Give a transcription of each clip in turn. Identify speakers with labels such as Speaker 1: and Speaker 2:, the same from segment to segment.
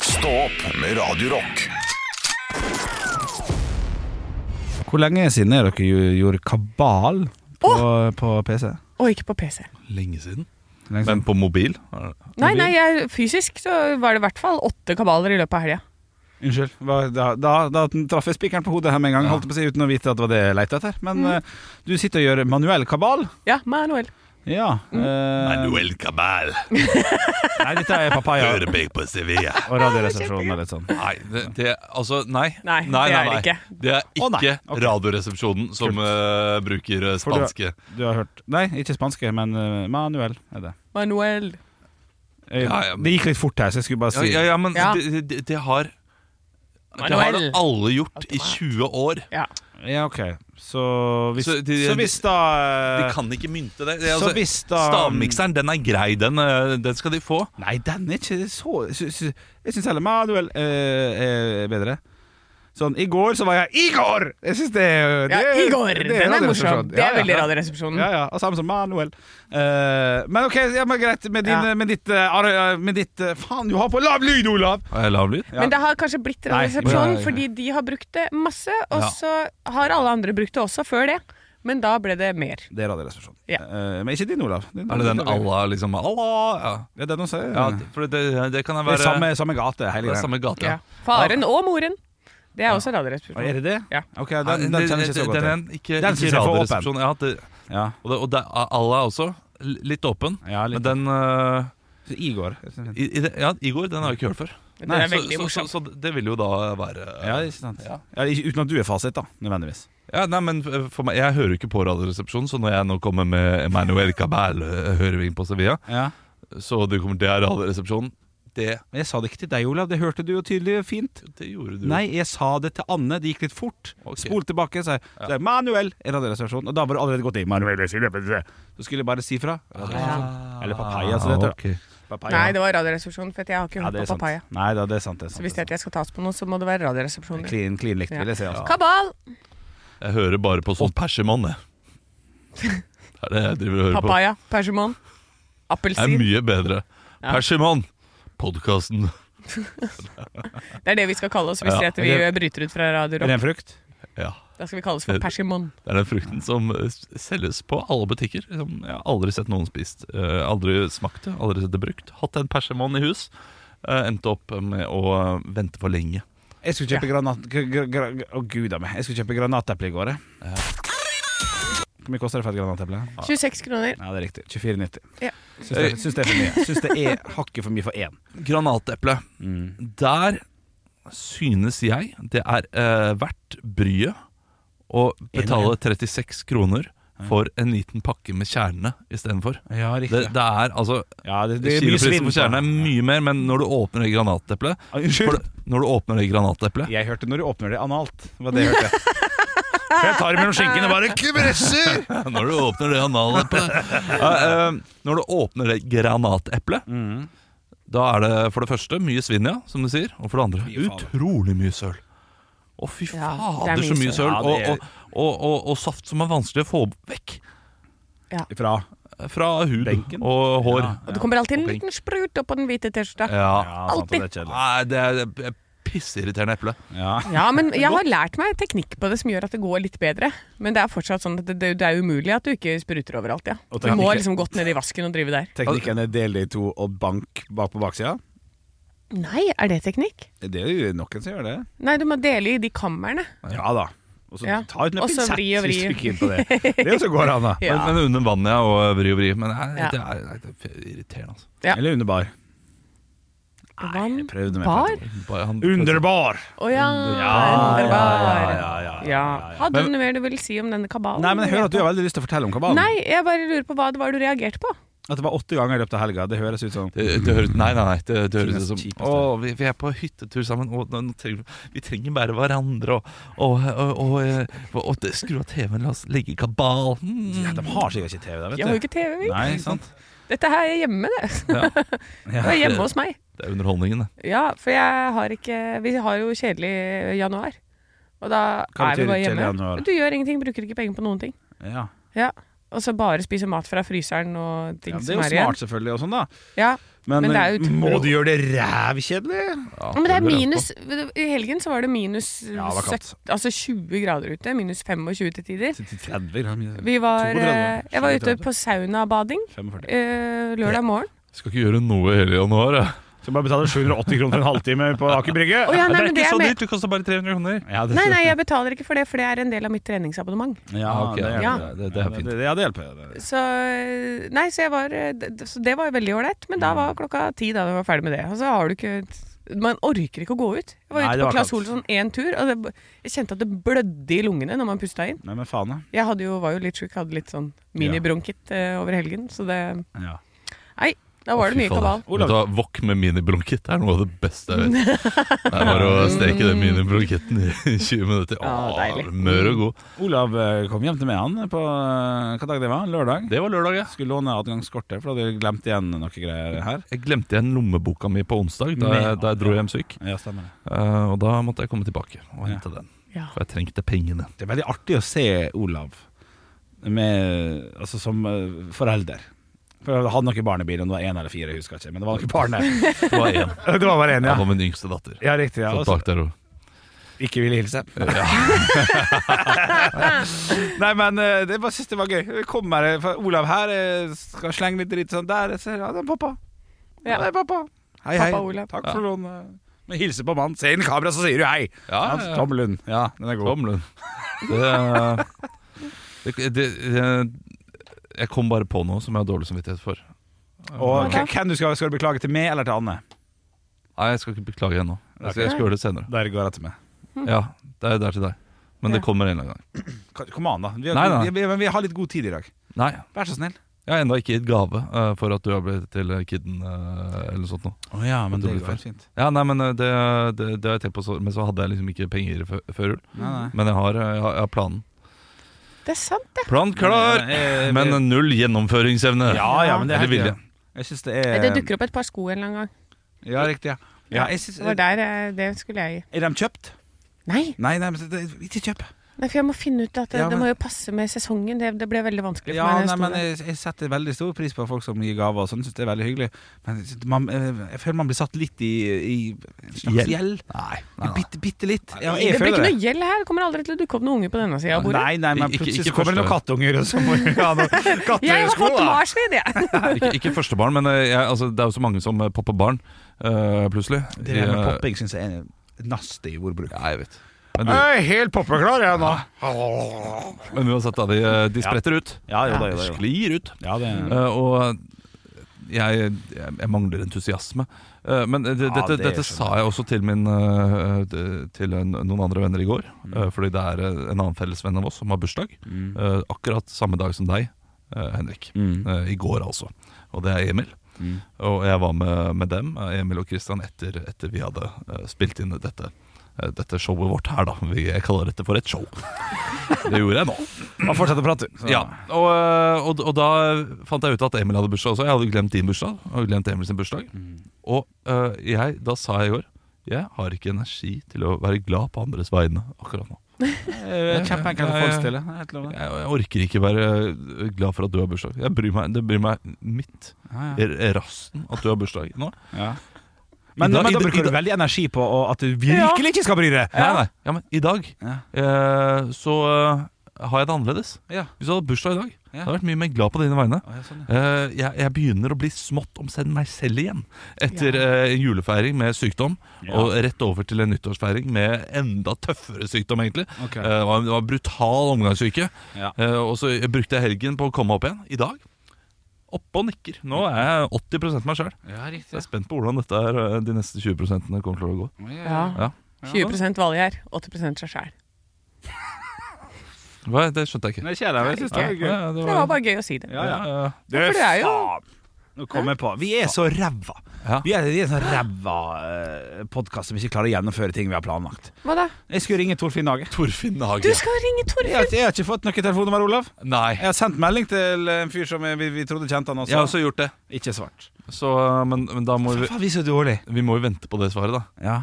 Speaker 1: Stå opp med Radio Rock.
Speaker 2: Hvor lenge siden er dere jo- gjorde kabal på, på PC?
Speaker 3: Og ikke på PC.
Speaker 4: Lenge siden.
Speaker 2: Lenge
Speaker 4: Men
Speaker 2: siden?
Speaker 4: på mobil? Er det-
Speaker 3: Nei, nei, jeg, fysisk så var det i hvert fall åtte kabaler i løpet av helga.
Speaker 2: Unnskyld. hva- Da, da, da traff jeg spikeren på hodet her med en gang, holdt jeg på å si, uten å vite at det var det jeg lette etter. Men eh, du sitter og gjør manuell kabal.
Speaker 3: Ja, Manuel.
Speaker 2: Ja. eh,
Speaker 4: Manuel Cabal,
Speaker 2: Nei, dette er papaya
Speaker 4: hører meg på Sevilla.
Speaker 2: og Radioresepsjonen og litt sånn.
Speaker 4: Nei, det, det altså, nei.
Speaker 3: Nei, det er det ikke.
Speaker 4: Det er ikke
Speaker 2: Å, nei. Ok.
Speaker 4: Radioresepsjonen som eh, bruker eh,
Speaker 2: For du-
Speaker 4: spanske.
Speaker 2: Du har hørt Nei, ikke spanske, men eh, manuell er det.
Speaker 3: Manuel.
Speaker 2: Eh,
Speaker 4: Ja, ja, men-
Speaker 2: Det gikk litt fort her, så jeg skulle bare
Speaker 4: Ja,
Speaker 2: si
Speaker 4: ja, ja, men
Speaker 3: Ja.
Speaker 4: Det, det, det har Det har
Speaker 3: Manuel.
Speaker 4: det alle gjort i 20 år.
Speaker 3: Ja.
Speaker 2: Ja, ok. Så hvis, så,
Speaker 4: Så de-
Speaker 2: hvis da
Speaker 4: De
Speaker 2: eh,
Speaker 4: kan ikke mynte det. det er
Speaker 2: Så
Speaker 4: altså,
Speaker 2: hvis da
Speaker 4: Stavmikseren, den er grei. Den, eh, den skal de få.
Speaker 2: Nei, den er ikke så sy- sy- Jeg syns heller manuell eh, er bedre. Sånn I går så var jeg Igor! Jeg syns det, er- det
Speaker 3: ja,
Speaker 2: er-
Speaker 3: Igor!
Speaker 2: det
Speaker 3: Den er
Speaker 2: radioresepsjon.
Speaker 3: morsom. Det
Speaker 2: Ja,
Speaker 3: er
Speaker 2: ja.
Speaker 3: veldig Radioresepsjonen.
Speaker 2: Ja, ja. Og samme som manuell. Eh, men OK, ja, men greit. Med, din,
Speaker 3: Ja.
Speaker 2: med ditt, eh, ar- med ditt eh, Faen, du har på lav lyd, Olav!
Speaker 4: Har jeg lav lyd?
Speaker 2: Ja.
Speaker 3: Men det har kanskje blitt
Speaker 2: Nei,
Speaker 3: Radioresepsjonen
Speaker 4: ja, ja.
Speaker 3: fordi de har brukt det masse, og
Speaker 4: Ja.
Speaker 3: så har alle andre brukt det også før det. Men da ble det mer.
Speaker 2: Det er radioresepsjon.
Speaker 3: Ja.
Speaker 2: Eh, men ikke din, Olav. Din,
Speaker 4: Er det den Allah, liksom Allah? Ja,
Speaker 2: Ja, den også. er-
Speaker 4: ja det- for det, det kan jeg
Speaker 2: Mm.
Speaker 4: være
Speaker 2: det er samme, samme gate, hele
Speaker 4: det er
Speaker 2: greia.
Speaker 4: samme gate.
Speaker 3: Ja. Faren og moren. Det er også
Speaker 2: Å, Er det
Speaker 3: Radioresepsjonen.
Speaker 2: det?
Speaker 3: Ja.
Speaker 2: Ok, den, den kjenner jeg ikke så godt
Speaker 4: Den,
Speaker 2: til.
Speaker 4: den, ikke,
Speaker 2: Den synes
Speaker 4: ikke
Speaker 2: jeg er for åpen.
Speaker 4: radioresepsjon. Ja, det,
Speaker 2: Ja,
Speaker 4: og det, og det, Allah er også l- litt åpen.
Speaker 2: ja
Speaker 4: Men
Speaker 2: litt.
Speaker 4: den eh,
Speaker 2: Så Igor.
Speaker 4: i, i, det- Ja, Igor, den har jeg ikke hørt før.
Speaker 3: Den
Speaker 2: Nei,
Speaker 3: er
Speaker 4: Så,
Speaker 3: veldig
Speaker 4: så, så,
Speaker 3: morsom.
Speaker 4: så det vil jo da være
Speaker 2: Ja, ikke sant.
Speaker 4: Ja.
Speaker 2: Ja, ikke- uten at du er fasit, da, nødvendigvis.
Speaker 4: Ja, nei, men for meg, Jeg hører jo ikke på Radioresepsjonen, så når jeg nå kommer med Emanuel Cabal, eh, høring på Sevilla,
Speaker 2: Ja.
Speaker 4: så det kommer det er Radioresepsjonen. Det,
Speaker 2: Men jeg sa det ikke til deg, Olav. Det hørte du jo tydelig fint.
Speaker 4: det gjorde du.
Speaker 2: Nei, jeg sa det til Anne. Det gikk litt fort.
Speaker 4: Ok.
Speaker 2: Spol tilbake, sa jeg. Så er Manuel i Radioresepsjonen. Og da var det allerede gått inn. Manuel, jeg sier det, men det- så skulle jeg bare si fra.
Speaker 4: Ah,
Speaker 2: Eller papaya, som det heter.
Speaker 4: ok.
Speaker 2: Papaya.
Speaker 3: Nei, det var Radioresepsjonen, for jeg har ikke
Speaker 2: Ja,
Speaker 3: hørt
Speaker 2: det er
Speaker 3: på
Speaker 2: sant.
Speaker 3: Papaya.
Speaker 2: Nei, da, det er sant. Det er
Speaker 3: Så
Speaker 2: sant,
Speaker 3: hvis
Speaker 2: det er
Speaker 3: jeg skal tas på noe, så må det være
Speaker 2: sant.
Speaker 3: Radioresepsjonen.
Speaker 2: Clean, clean likt, vil jeg si. Altså.
Speaker 3: Kabal!
Speaker 4: Jeg hører bare på sånn persimonne. Det er det jeg driver og hører på.
Speaker 3: Papaya, persimon,
Speaker 4: Det er
Speaker 3: appelsin.
Speaker 4: mye bedre.
Speaker 3: Ja.
Speaker 4: Persimon! Podkasten.
Speaker 3: Det er det vi skal kalle oss hvis
Speaker 4: Ja.
Speaker 3: det heter vi eh, bryter ut fra Radio
Speaker 2: Er det
Speaker 3: Rock.
Speaker 2: en frukt?
Speaker 4: Ja.
Speaker 3: Da skal vi kalles for persimon.
Speaker 4: Det er den frukten som eh, s- selges på alle butikker. Som jeg har aldri sett noen spist. eh, Aldri smakt det, aldri sett det brukt. Hatt en persimon i hus. eh, Endte opp med å eh, vente for lenge.
Speaker 2: Jeg skulle kjøpe granat... gr- gr- gr- Å, gud a meg. Jeg skulle kjøpe granateple i går. jeg. Hvor mye koster det for et granateple?
Speaker 3: 26 kroner.
Speaker 2: Ja, det er riktig. 24,90.
Speaker 3: Ja.
Speaker 2: Syns det, syns det er for mye. Syns det er hakket for mye for én. Mm.
Speaker 4: Granateple. Der synes jeg det er eh, verdt bryet å betale 36 kroner for en liten pakke med kjernene istedenfor.
Speaker 2: Ja,
Speaker 4: Det, det er altså
Speaker 2: Ja, det, det er mye
Speaker 4: Kiloprisen
Speaker 2: svinn.
Speaker 3: liksom
Speaker 4: for kjernen er mye mer, men når du åpner det granateplet
Speaker 2: Ja, Unnskyld.
Speaker 4: for det- Når du åpner det granateplet
Speaker 2: Jeg hørte når du åpner det analt. Var det jeg hørte. For jeg tar det mellom skinkene bare kubresser!
Speaker 4: Når du åpner det analeplet Ja, eh, Når du åpner det granateplet,
Speaker 3: Mm.
Speaker 2: Mm.
Speaker 4: da er det for det første mye svinn, ja, som du sier. Og for det andre
Speaker 2: Fy faen.
Speaker 4: utrolig mye søl. Å, fy
Speaker 3: Ja, det er
Speaker 4: fader, så
Speaker 3: mye
Speaker 4: mye
Speaker 3: søl.
Speaker 4: søl.
Speaker 2: Ja,
Speaker 4: Og,
Speaker 2: det er-
Speaker 4: og, og, og, og saft som er vanskelig å få vekk
Speaker 2: Fra
Speaker 4: fra hud
Speaker 2: Benken.
Speaker 4: og hår.
Speaker 2: Ja.
Speaker 3: Og det kommer alltid en
Speaker 4: Ok.
Speaker 3: liten sprut opp på den hvite T-skjorta.
Speaker 4: Ja.
Speaker 2: Ja, sant, og det er kjedelig.
Speaker 4: Nei, det er det er pissirriterende eple.
Speaker 2: Ja.
Speaker 3: Ja, men jeg har lært meg teknikk på det som gjør at det går litt bedre. Men det er fortsatt sånn at det, det er umulig at du ikke spruter overalt, ja.
Speaker 2: Og
Speaker 3: Du må
Speaker 2: teknikk-
Speaker 3: liksom godt ned i vasken og drive der.
Speaker 2: Teknikken er del det i to og bank bak på baksida.
Speaker 3: Nei, er det teknikk?
Speaker 2: Det er jo noen som gjør det.
Speaker 3: Nei, du må dele i de kammerne.
Speaker 2: Ja da. Og så
Speaker 3: Ja.
Speaker 2: ta ut med
Speaker 3: Og så
Speaker 2: pinsett
Speaker 3: vri og vri.
Speaker 2: hvis du er keen på det. Det er jo så går an, da.
Speaker 3: Ja.
Speaker 4: Men, men under vannet ja, og vri og vri. Men nei,
Speaker 3: Ja.
Speaker 4: det, er, nei, det er irriterende, altså.
Speaker 3: Ja.
Speaker 2: Eller underbar.
Speaker 3: Vann,
Speaker 2: jeg prøvde meg på
Speaker 3: bar.
Speaker 2: et
Speaker 4: Bare han-
Speaker 2: Underbar!
Speaker 3: Å ja,
Speaker 2: Ja,
Speaker 3: en bar.
Speaker 2: ja, ja, ja, ja, ja.
Speaker 3: Hadde du noe mer du ville si om denne kabalen?
Speaker 2: Nei, men jeg hører at du har veldig lyst til å fortelle om kabalen.
Speaker 3: Nei, jeg bare lurer på hva det var du reagerte på.
Speaker 2: At det var åtte ganger i løpet av helga. Det høres ut som
Speaker 4: Det, det høres, nei, nei, nei, det, det høres ut
Speaker 2: Tidenes
Speaker 4: som
Speaker 2: kjipeste.
Speaker 4: Å, vi, vi er på hyttetur sammen, og nå, nå trenger, vi- vi trenger bare hverandre. Og, og, og, og, eh, og, og det- skru av TV-en, la oss legge i kabal. Mm.
Speaker 2: Ja, De har sikkert ikke TV der, vet
Speaker 3: Jeg har jo ikke TV. vi.
Speaker 2: Nei, sant?
Speaker 3: Dette her er hjemme, det.
Speaker 4: Ja.
Speaker 3: Det er hjemme hos meg.
Speaker 4: Det er underholdningen, det.
Speaker 3: Ja, for jeg har ikke Vi har jo kjedelig januar. Og da
Speaker 2: Hva
Speaker 3: er vi
Speaker 2: betyr
Speaker 3: bare
Speaker 2: kjedelig
Speaker 3: hjemme.
Speaker 2: januar?
Speaker 3: Du gjør ingenting, bruker ikke penger på noen ting.
Speaker 2: Ja.
Speaker 3: Ja. Og så bare spise mat fra fryseren og ting
Speaker 2: Ja, det er
Speaker 3: som
Speaker 2: jo
Speaker 3: er igjen.
Speaker 2: smart, selvfølgelig, og sånn, da.
Speaker 3: Ja.
Speaker 2: Men,
Speaker 3: Men det er jo
Speaker 2: eh,
Speaker 3: utrolig.
Speaker 2: må du gjøre det rævkjedelig?
Speaker 4: Ja,
Speaker 3: Men det
Speaker 4: lurer
Speaker 3: er
Speaker 4: jeg
Speaker 3: minus I helgen så var det minus
Speaker 2: Ja, det var kaldt.
Speaker 3: 17 altså 20 grader ute. Minus 25 til tider.
Speaker 2: 30 gram.
Speaker 3: Vi var,
Speaker 2: 32,
Speaker 3: eh, jeg var ute
Speaker 2: 37.
Speaker 3: på saunabading
Speaker 2: 45.
Speaker 3: eh, lørdag morgen.
Speaker 4: på. Skal ikke gjøre noe i hele januar. jeg.
Speaker 2: Skal bare betale 780 kroner for en halvtime på Aker Brygge.
Speaker 3: Å ja, nei, men det er med-
Speaker 4: dyrt, det koster bare 300 kroner.
Speaker 2: Ja, det,
Speaker 3: Nei, nei, jeg betaler ikke for det, for det er en del av mitt treningsabonnement.
Speaker 2: ja,
Speaker 4: Ah, ok,
Speaker 2: det,
Speaker 4: ja,
Speaker 2: ja.
Speaker 4: det- det- det er fint.
Speaker 2: Det, det, ja, det hjelper. Det-
Speaker 3: Så, eh, nei, så, jeg var, eh, d- d- så det var jo veldig ålreit, men
Speaker 2: Mm.
Speaker 3: da var klokka ti da vi var ferdig med det. Og så har du ikke Man orker ikke å gå ut. Jeg var
Speaker 2: Nei, det
Speaker 3: ute
Speaker 2: var
Speaker 3: på Claes
Speaker 2: kaldt.
Speaker 3: Olsson én tur, og det, jeg kjente at det blødde i lungene når man pusta inn.
Speaker 2: Nei, men faen, da.
Speaker 3: Jeg hadde jo, var jo litt sjuk, hadde litt sånn minibronkitt eh, over helgen, så det
Speaker 2: Ja.
Speaker 3: Nei, da var det mye kabal.
Speaker 2: Olav.
Speaker 4: Da, wok med minibronkitt er noe av det beste jeg vet. Det er bare å steke den minibronkitten i 20 minutter.
Speaker 3: Ja,
Speaker 4: Åh,
Speaker 3: deilig.
Speaker 4: mør og god.
Speaker 2: Olav eh, kom hjem til meg han på eh, hva dag det var? Lørdag.
Speaker 4: Det var lørdag, ja.
Speaker 2: Skulle låne adgangskortet, for da hadde jeg glemt igjen noe greier her.
Speaker 4: Eh, Jeg glemte igjen lommeboka mi på onsdag da jeg, da jeg dro hjem syk.
Speaker 2: Ja, stemmer det.
Speaker 4: Eh, og da måtte jeg komme tilbake og hente den.
Speaker 3: Ja.
Speaker 4: For jeg trengte pengene.
Speaker 2: Det er veldig artig å se Olav med, altså, som eh, forelder. For jeg hadde noen barn i bilen, om det var én eller fire, jeg husker ikke. Men det var noen barn der.
Speaker 4: Det var én.
Speaker 2: Det var bare én,
Speaker 4: Det
Speaker 2: ja.
Speaker 4: var min yngste datter.
Speaker 2: Ja, riktig. Ja. altså.
Speaker 4: Satt
Speaker 2: Også,
Speaker 4: bak der og
Speaker 2: ikke ville hilse. Nei, men eh, det bare synes det var gøy. Jeg Kommer, eh, for Olav her eh, skal slenge litt dritt sånn der. Jeg ser, ja, det er pappa. Ja. det
Speaker 3: Ja.
Speaker 2: er pappa. Hei,
Speaker 3: Pappa
Speaker 2: hei.
Speaker 3: Olav.
Speaker 2: Takk for lånet. Men hilse på mannen. Se inn i kamera, så sier du hei.
Speaker 4: Ja,
Speaker 2: Hans
Speaker 4: ja.
Speaker 2: Tom Lund. Ja, den er god.
Speaker 4: Tom Lund. Det, eh, det, det, det, jeg kom bare på noe som jeg har dårlig samvittighet for.
Speaker 2: Og
Speaker 3: Ja.
Speaker 2: k- hvem du skal, skal du beklage til meg eller til Anne?
Speaker 4: Nei, jeg skal ikke beklage ennå. Jeg skal, jeg skal gjøre det senere.
Speaker 2: Der går jeg til meg.
Speaker 4: Ja, det er der til deg. Men det
Speaker 3: Ja.
Speaker 4: kommer en eller annen gang.
Speaker 2: Ka- Kom an, da. Vi har,
Speaker 4: Nei, nei.
Speaker 2: Vi, vi, men vi har litt god tid i dag.
Speaker 4: Nei,
Speaker 2: Vær så snill.
Speaker 4: jeg har ennå ikke gitt gave eh, for at du har blitt til kidden eh, eller sånt noe.
Speaker 2: Å ja, men
Speaker 4: det går helt
Speaker 2: fint.
Speaker 4: Ja, nei, men eh, det, det, det har jeg tenkt på, så, men så hadde jeg liksom ikke penger før, før jul.
Speaker 2: Nei, nei.
Speaker 4: Men jeg har, eh, jeg har, jeg har planen.
Speaker 3: Det er sant, det.
Speaker 4: Plan klar,
Speaker 2: Ja, eh,
Speaker 4: men eh, null gjennomføringsevne.
Speaker 2: Ja, ja, men det er
Speaker 4: Eller
Speaker 2: helt
Speaker 4: vilje.
Speaker 2: Jeg syns det er
Speaker 3: Det dukker opp et par sko en eller annen gang.
Speaker 2: Ja, riktig. ja, ja jeg synes,
Speaker 3: Det var der eh, det skulle jeg gi.
Speaker 2: Er de kjøpt?
Speaker 3: Nei,
Speaker 2: Nei, nei, men det, det- ikke kjøp.
Speaker 3: nei, for jeg må finne ut at det,
Speaker 2: Ja, men-
Speaker 3: det må jo passe med sesongen. Det, det ble veldig vanskelig for
Speaker 2: Ja,
Speaker 3: meg.
Speaker 2: nei,
Speaker 3: når
Speaker 2: men eh,
Speaker 3: jeg sto der.
Speaker 2: jeg, jeg setter veldig stor pris på folk som gir gaver og sånn. Syns det er veldig hyggelig. Men man, eh, jeg føler man blir satt litt i, i en slags gjeld.
Speaker 4: Nei, nei, nei.
Speaker 2: Bitte, bitte litt. Ja,
Speaker 3: det
Speaker 2: jeg
Speaker 3: blir ikke
Speaker 2: føler det.
Speaker 3: noe gjeld her. Det kommer aldri til å dukke opp noen unge på denne sida av bordet.
Speaker 2: Nei, nei, men
Speaker 4: Ikke-
Speaker 2: plutselig
Speaker 4: ikke
Speaker 2: så kommer det noen kattunger, og så må vi ha noen
Speaker 3: jeg har
Speaker 2: kattesko.
Speaker 3: fått
Speaker 2: da.
Speaker 3: marsvin, jeg!
Speaker 4: ikke, ikke første barn, men eh, jeg, altså, det er jo så mange som eh, popper barn eh, plutselig.
Speaker 2: Det der med
Speaker 4: Eh,
Speaker 2: popping syns jeg er et nasty ordbruk.
Speaker 4: Ja, jeg vet. eh, Men, du,
Speaker 2: Jeg er helt poppeklar, jeg nå.
Speaker 4: men uansett, da. De, eh, de spretter ut.
Speaker 2: Ja, jo da,
Speaker 4: De
Speaker 2: jo da. jo da.
Speaker 4: sklir ut.
Speaker 2: Ja, det
Speaker 4: Eh, og jeg, jeg, jeg mangler entusiasme. Eh, men det,
Speaker 2: Ja,
Speaker 4: dette,
Speaker 2: det
Speaker 4: dette
Speaker 2: skjønner
Speaker 4: sa jeg også til, min, eh, de- til en, noen andre venner i går.
Speaker 2: Mm.
Speaker 4: eh, fordi det er eh, en annen fellesvenn av oss som har bursdag. eh, akkurat samme dag som deg, eh, Henrik.
Speaker 2: Mm.
Speaker 4: Eh, I går, altså. Og det er Emil.
Speaker 2: Mm.
Speaker 4: Og jeg var med, med dem, eh, Emil og Kristian, etter, etter vi hadde eh, spilt inn dette, eh, dette showet vårt her, da. Vi, jeg kaller dette for et show. Det gjorde jeg nå.
Speaker 2: Man fortsetter å prate. Så-
Speaker 4: Ja, og, øh, og, og da fant jeg ut at Emil hadde bursdag også. Jeg hadde glemt din bursdag. Jeg hadde glemt Emil sin bursdag. Og øh, jeg, da sa jeg i går jeg har ikke energi til å være glad på andres vegne akkurat nå.
Speaker 2: Eh, Kjempeenkelt å
Speaker 4: Ja, ja.
Speaker 2: forestille. Det er helt lov, det.
Speaker 4: Jeg, jeg orker ikke være øh, glad for at du har bursdag. Jeg bryr meg, det bryr meg midt
Speaker 2: Ja, ja.
Speaker 4: i rasten at du har bursdag nå.
Speaker 2: Ja. Men,
Speaker 4: I dag-
Speaker 2: men da
Speaker 4: i- i-
Speaker 2: bruker du veldig energi på å- at du virkelig ikke skal bry deg.
Speaker 4: Nei, nei, ja, men i dag
Speaker 2: Ja.
Speaker 4: eh, så øh, har jeg det annerledes.
Speaker 2: Ja.
Speaker 4: Hvis du hadde bursdag i dag,
Speaker 2: Ja.
Speaker 4: hadde jeg vært mye mer glad på dine vegne.
Speaker 2: Å, ja, sånn, ja.
Speaker 4: Eh, jeg, jeg begynner å bli smått omsend meg selv igjen. Etter eh, en julefeiring med sykdom,
Speaker 2: Ja.
Speaker 4: og rett over til en nyttårsfeiring med enda tøffere sykdom, egentlig.
Speaker 2: Ok.
Speaker 4: Eh, det, var, det var brutal omgangssyke.
Speaker 2: Ja.
Speaker 4: Eh, og så brukte jeg helgen på å komme opp igjen. I dag oppe og nikker. Nå er jeg 80 meg sjøl.
Speaker 2: Ja, riktig.
Speaker 4: Jeg er spent på hvordan dette er, eh, de neste 20 kommer til å gå.
Speaker 3: Ja.
Speaker 4: Ja.
Speaker 3: 20 valgjær, 80 seg sjæl.
Speaker 4: Hva, det skjønte jeg ikke.
Speaker 2: Nei, kjære, jeg synes det er gøy.
Speaker 4: Ja,
Speaker 3: Det var bare gøy å si det.
Speaker 2: Ja, ja.
Speaker 4: ja, ja.
Speaker 2: Du,
Speaker 3: for det er jo-
Speaker 2: faen! Nå kom jeg på. Vi er så ræva.
Speaker 4: Ja.
Speaker 2: Vi er, vi er en sånn ræva eh, podkast som ikke klarer å gjennomføre ting vi har planlagt.
Speaker 3: Hva da?
Speaker 2: Jeg skulle ringe Torfinn Nage.
Speaker 4: Torfinn
Speaker 3: Du
Speaker 4: Hage.
Speaker 3: skal ringe
Speaker 2: Jeg,
Speaker 3: Torfinn!
Speaker 2: har- jeg har ikke fått noe telefonnummer, Olav.
Speaker 4: Nei.
Speaker 2: Jeg har sendt melding til en fyr som vi, vi trodde kjente han også.
Speaker 4: Jeg har også gjort det.
Speaker 2: Ikke svart.
Speaker 4: Så, eh, men, men da må vi
Speaker 2: Faen, vi er så dårlig.
Speaker 4: Vi må jo vente på det svaret, da.
Speaker 2: Ja.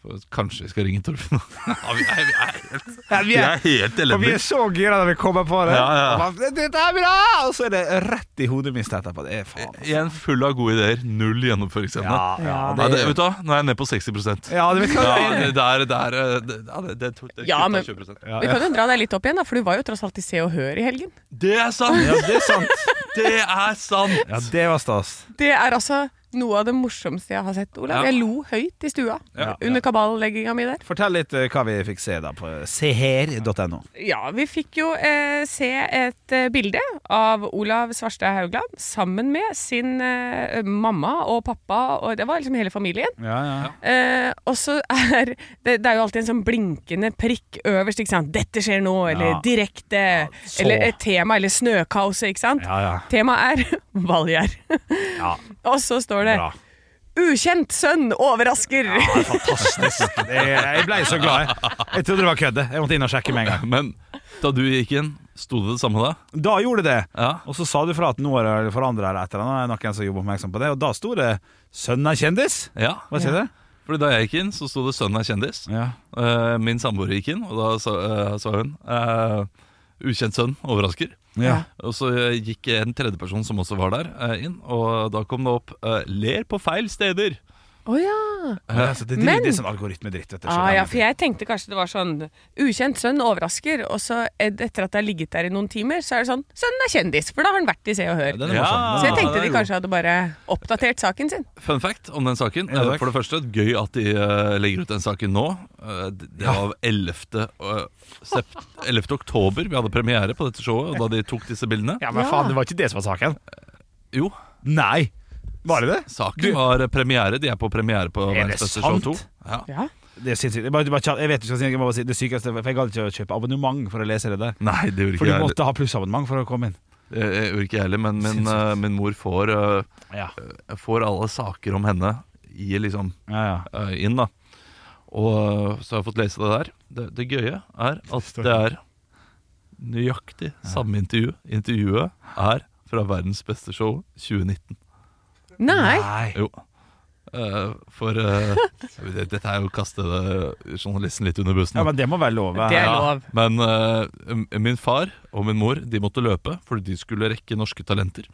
Speaker 4: For Kanskje vi skal ringe Torfinn nå. Ja, vi er, vi er helt,
Speaker 2: vi
Speaker 4: vi
Speaker 2: er-
Speaker 4: er helt
Speaker 2: Og vi
Speaker 4: elendige.
Speaker 2: er så gira når vi kommer på det.
Speaker 4: Ja, ja.
Speaker 2: Og bare, «Dette er bra! Og så er det rett i hodet mitt etterpå. Det er faen. altså.
Speaker 4: Igjen full av gode ideer, null gjennomføringsevne.
Speaker 2: Ja, ja,
Speaker 4: Nei,
Speaker 2: det,
Speaker 4: det, vet du hva, Nå er jeg nede på 60
Speaker 2: ja, du vet hva
Speaker 4: Ja,
Speaker 2: det er.
Speaker 4: det der, der eh, det, ja, det, det, tok- det
Speaker 3: Ja,
Speaker 4: kutta
Speaker 3: men-
Speaker 4: 20%.
Speaker 2: Ja,
Speaker 3: Vi
Speaker 2: ja.
Speaker 3: kan jo dra deg litt opp igjen, da, for du var jo tross alt i Se og Hør i helgen.
Speaker 4: Det er sant!
Speaker 2: ja, det er sant.
Speaker 4: Det er sant!
Speaker 2: Ja, det var stas.
Speaker 3: Det er altså noe av det morsomste jeg har sett, Olav.
Speaker 4: Ja.
Speaker 3: Jeg lo høyt i stua
Speaker 2: Ja.
Speaker 3: under kaballegginga mi der.
Speaker 2: Fortell litt eh, hva vi fikk se da på seher.no.
Speaker 3: Ja, vi fikk jo eh, se et eh, bilde av Olav Svarstad Haugland sammen med sin eh, mamma og pappa, og det var liksom hele familien.
Speaker 2: Ja, ja.
Speaker 3: Eh, og så er det, det er jo alltid en sånn blinkende prikk øverst. ikke sant? 'Dette skjer nå', eller
Speaker 2: Ja.
Speaker 3: 'direkte',
Speaker 2: så.
Speaker 3: eller et tema, eller 'snøkaoset', ikke sant?
Speaker 2: Ja, ja.
Speaker 3: Temaet er valgjær.
Speaker 2: ja
Speaker 3: Og så står det
Speaker 2: bra.
Speaker 3: 'Ukjent sønn overrasker'.
Speaker 2: Fantastisk. Det, jeg ble så glad. Jeg, jeg trodde det var kødde. Jeg måtte inn og sjekke med en gang.
Speaker 4: Men da du gikk inn, sto det det samme da?
Speaker 2: Da gjorde det det.
Speaker 4: Ja.
Speaker 2: Og så sa du fra at nå er det forandra eller et eller annet. Det er Noen som gjorde oppmerksom på det. Og da sto det 'Sønnen er kjendis'.
Speaker 4: ja.
Speaker 2: Hva sier du?
Speaker 4: Fordi Da jeg gikk inn, så sto det 'Sønnen er kjendis'.
Speaker 2: Ja.
Speaker 4: Eh, Min samboer gikk inn, og da sa, eh, sa hun eh, 'Ukjent sønn overrasker'.
Speaker 2: Ja.
Speaker 4: Og så eh, gikk en tredjeperson som også var der, eh, inn, og da kom det opp eh, 'Ler på feil steder'.
Speaker 3: Å ja.
Speaker 2: Ja, så det, det,
Speaker 3: Men-
Speaker 2: det er sånn algoritmedritt. vet du,
Speaker 3: Ah,
Speaker 2: skjønner
Speaker 3: ja,
Speaker 2: jeg.
Speaker 3: for jeg tenkte kanskje det var sånn 'ukjent sønn overrasker', og så ed- etter at det har ligget der i noen timer, så er det sånn 'sønnen er kjendis', for da har han vært i Se og Hør.
Speaker 2: Den er
Speaker 4: Ja.
Speaker 2: morsom.
Speaker 3: så jeg
Speaker 4: den
Speaker 3: tenkte
Speaker 4: er
Speaker 3: de
Speaker 4: god.
Speaker 3: kanskje hadde bare oppdatert saken sin.
Speaker 4: Fun fact om den saken.
Speaker 2: Ja, takk.
Speaker 4: Eh, For det første, gøy at de eh, legger ut den saken nå. Eh, det det var 11. eh, sept- 11. oktober vi hadde premiere på dette showet, og da de tok disse bildene.
Speaker 2: Ja, men
Speaker 3: Ja.
Speaker 2: faen, det var ikke det som var saken.
Speaker 4: Jo,
Speaker 2: Nei. Var det det?
Speaker 4: saken var premiere. De er på premiere på
Speaker 2: Er det
Speaker 4: Verdens beste show
Speaker 2: sant?
Speaker 4: 2. Ja.
Speaker 3: Ja.
Speaker 2: Det er sinnssykt. Jeg, bare, bare, kjapt- jeg vet ikke hva jeg skal si, jeg må bare si det sykeste, for jeg gadd ikke å kjøpe abonnement for å lese det der.
Speaker 4: Nei, det gjorde ikke
Speaker 2: For du
Speaker 4: jeg heller.
Speaker 2: måtte ha plussabonnement for å komme inn.
Speaker 4: Jeg jeg gjorde ikke jeg heller, men min,
Speaker 2: Sinnssykt.
Speaker 4: eh, min mor får, eh,
Speaker 2: Ja,
Speaker 4: får alle saker om henne i liksom
Speaker 2: ja, ja.
Speaker 4: eh, inn, da. Og eh, så har jeg fått lese det der. Det, det gøye er at det er nøyaktig samme intervju. Intervjuet er fra Verdens beste show 2019.
Speaker 3: Nei.
Speaker 4: Jo. Eh, for eh, det- Dette er jo å kaste det- journalisten litt under bussen.
Speaker 2: Ja, men det må være lov.
Speaker 3: Det er
Speaker 2: Ja.
Speaker 3: lov.
Speaker 4: Men eh, m- min far og min mor De måtte løpe fordi de skulle rekke norske talenter.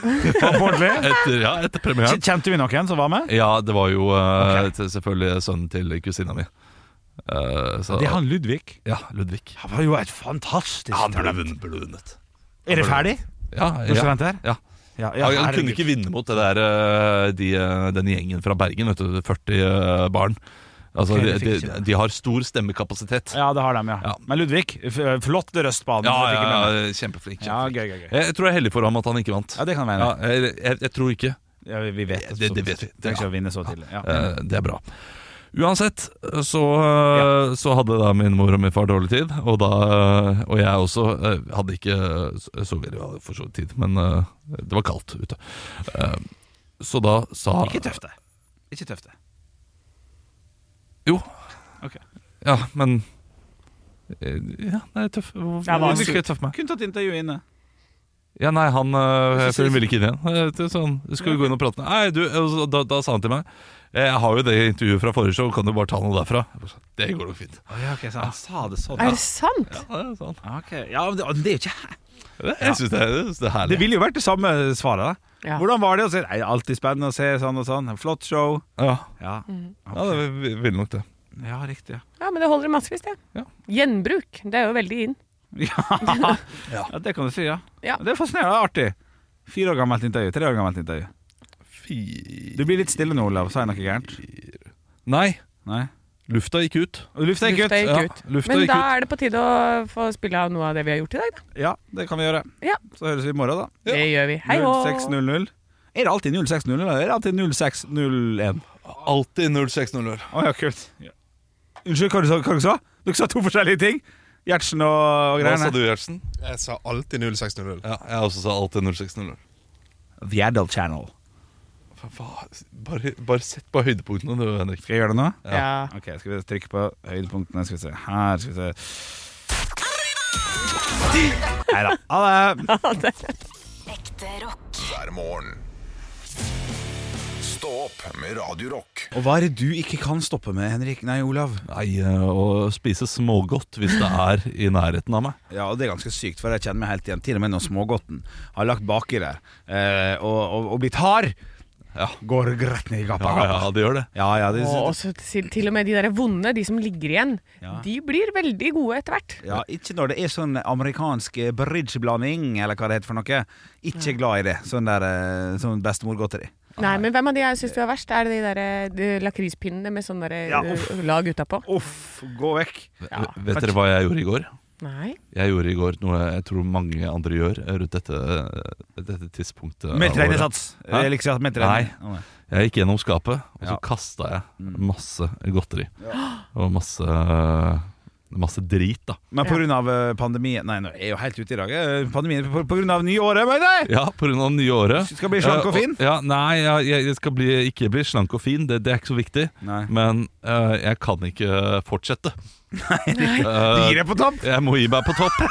Speaker 2: På ordentlig.
Speaker 4: Etter, ja, etter premieren.
Speaker 2: Kj- Kjente vi noen som var med?
Speaker 4: Ja, det var jo eh, til- selvfølgelig sønnen til kusina mi. Eh, så,
Speaker 2: Det er han Ludvig.
Speaker 4: Ja, Ludvig.
Speaker 2: Han var jo et fantastisk
Speaker 4: Han burde
Speaker 2: talent.
Speaker 4: vunnet. Burde vunnet.
Speaker 2: Er det ferdig?
Speaker 4: Ja,
Speaker 2: Hvor skal
Speaker 4: ja.
Speaker 2: han til?
Speaker 4: ja.
Speaker 2: Ja, ja,
Speaker 4: Han, han
Speaker 2: herregud.
Speaker 4: kunne ikke vinne mot det der, eh, de, eh, den gjengen fra Bergen, vet du, 40 eh, barn. Altså,
Speaker 2: Ok, det fikk
Speaker 4: de,
Speaker 2: ikke
Speaker 4: de,
Speaker 2: det.
Speaker 4: de har stor stemmekapasitet.
Speaker 2: Ja, det har de, ja.
Speaker 4: Ja.
Speaker 2: Men Ludvig, f- eh, flott røst på han.
Speaker 4: Ja,
Speaker 2: det fikk jeg
Speaker 4: ja,
Speaker 2: med meg.
Speaker 4: ja, eh, kjempeflink.
Speaker 2: ja,
Speaker 4: kjempeflink.
Speaker 2: gøy, gøy, gøy.
Speaker 4: Jeg, jeg tror jeg er heldig for ham at han ikke vant.
Speaker 2: Ja, det kan være.
Speaker 4: Ja, jeg, jeg, jeg tror ikke.
Speaker 2: Ja, vi- vi vet
Speaker 4: Ja, det- det vet vi.
Speaker 2: Det er ikke å vinne så tidlig. Ja.
Speaker 4: Eh, Det er bra. Uansett så, eh, så hadde da min mor og min far dårlig tid, og, da, eh, og jeg også eh, hadde ikke eh, så- så veldig ja, for så vidt tid, men eh, det var kaldt ute. Eh, Så da sa
Speaker 2: Ikke tøft, det. Ikke tøft, det.
Speaker 4: Jo.
Speaker 2: Ok.
Speaker 4: Ja, men eh, Ja, det er tøff. Hvorfor
Speaker 3: Det var
Speaker 4: hvorfor skal jeg tøffe meg?
Speaker 2: Kunne tatt intervju inne.
Speaker 4: Ja, nei, han
Speaker 2: Jeg
Speaker 4: øh,
Speaker 2: synes
Speaker 4: Hun
Speaker 2: det-
Speaker 4: ville ikke inn igjen. Eh, det er Sånn, skal vi gå inn og prate med Nei, du, og så- da, da sa han til meg "Eh, Jeg har jo det intervjuet fra forrige show, kan du bare ta noe derfra? Jeg bare sa, Det går nok fint.
Speaker 2: Å, ja, ok, så han sa det sånn.
Speaker 3: Er det sant?
Speaker 4: Ja, det er sånn.
Speaker 2: Ok, ja, men det, det er jo ikke
Speaker 4: Det, jeg syns det, jeg synes det er herlig.
Speaker 2: Det ville jo vært det samme svaret. da
Speaker 3: Ja.
Speaker 2: Hvordan var det? å se? Nei, alltid spennende å se sånn og sånn. Flott show.
Speaker 4: ja.
Speaker 2: Ja,
Speaker 3: Mm.
Speaker 4: ja, det vil- ville nok det.
Speaker 2: ja riktig. Ja.
Speaker 3: Ja, men det holder i massevis, det.
Speaker 4: Ja.
Speaker 3: Gjenbruk, det er jo veldig in.
Speaker 2: Ja. ja, det kan du si, ja.
Speaker 3: Ja.
Speaker 2: Det er fascinerende det er artig. Fire år gammelt intervju. Tre år gammelt intervju. Du
Speaker 4: Fy...
Speaker 2: blir litt stille nå, Olav. Sa jeg noe gærent?
Speaker 4: Nei,
Speaker 2: Nei?
Speaker 4: lufta gikk ut.
Speaker 2: Og Lufta gikk
Speaker 3: Lufta
Speaker 2: ut.
Speaker 3: gikk
Speaker 4: ja.
Speaker 3: ut.
Speaker 4: Lufta
Speaker 3: Men
Speaker 4: gikk
Speaker 3: da er det på tide å få spille av noe av det vi har gjort i dag, da.
Speaker 2: Ja, det kan vi gjøre.
Speaker 3: Ja.
Speaker 2: Så høres vi i morgen, da.
Speaker 4: Ja.
Speaker 3: Det gjør vi. Hei og
Speaker 2: 06.00. Er det alltid 06.00, eller er det alltid 06.01?
Speaker 4: Alltid 0600.
Speaker 2: Å ja, kult. Unnskyld, hva du sa hva du? Sa? Dere sa to forskjellige ting. Gjertsen og, og
Speaker 4: Hva
Speaker 2: greiene.
Speaker 4: sa du, Gjertsen?
Speaker 5: Jeg sa alltid 0600.
Speaker 4: Ja, jeg også sa alltid 0600.
Speaker 2: The Adult Channel.
Speaker 4: Hva- hva- Bare, bare sett på høydepunktene, du, Henrik.
Speaker 2: Skal jeg gjøre det nå?
Speaker 3: Ja.
Speaker 2: Ok, skal vi trykke på høydepunktene? Skal vi se. Her skal vi se. Nei da. Ha det.
Speaker 1: hver morgen. Stå opp med Radio Rock.
Speaker 2: Og hva er det du ikke kan stoppe med, Henrik? Nei, Olav.
Speaker 4: Nei, eh, å spise smågodt hvis det er i nærheten av meg.
Speaker 2: Ja, og det er ganske sykt, for jeg kjenner meg helt igjen. Til og med når smågodten har lagt baki der eh, og, og, og blitt hard,
Speaker 4: Ja.
Speaker 2: går rett ned i gappa.
Speaker 4: Ja, ja, det gjør det.
Speaker 2: Ja, ja, det,
Speaker 3: Og også til, til og med de der vonde, de som ligger igjen,
Speaker 2: Ja.
Speaker 3: de blir veldig gode etter hvert.
Speaker 2: ja, ikke når det er sånn amerikansk eh, bridgeblanding, eller hva det heter for noe. Ikke glad i det. Sånn der eh, sånn bestemorgodteri.
Speaker 3: Nei, men hvem av de jeg syns du er verst? Er det de der eh, de lakrispinnene med sånne der,
Speaker 2: Ja,
Speaker 3: eh,
Speaker 2: uff.
Speaker 3: lag utapå?
Speaker 2: Uff, gå vekk.
Speaker 3: Ja.
Speaker 4: Vet dere hva jeg gjorde i går?
Speaker 3: Nei.
Speaker 4: Jeg gjorde i går noe jeg tror mange andre gjør eh, rundt dette, dette tidspunktet. av
Speaker 2: Med
Speaker 4: året.
Speaker 2: treningssats.
Speaker 4: Hæ?
Speaker 2: Jeg liker ikke at med
Speaker 4: Nei.
Speaker 2: trening. Nei.
Speaker 4: Jeg gikk gjennom skapet, og så
Speaker 2: Ja. Mm.
Speaker 4: kasta jeg masse godteri. Og masse, masse drit, da.
Speaker 2: Men
Speaker 3: Ja.
Speaker 2: pga. eh, pandemien Nei, nå er jeg jo helt ute i dag. eh, Pandemien pga. nyåret, mener jeg!
Speaker 4: Ja, på grunn av det nye året.
Speaker 2: Skal bli slank og
Speaker 4: Eh,
Speaker 2: fin?
Speaker 4: Ja, nei, jeg, jeg skal bli, ikke bli slank og fin. Det, det er ikke så viktig.
Speaker 2: Nei.
Speaker 4: Men eh, jeg kan ikke fortsette.
Speaker 2: Du
Speaker 4: Nei.
Speaker 2: gir deg på topp!
Speaker 4: jeg må gi meg på topp.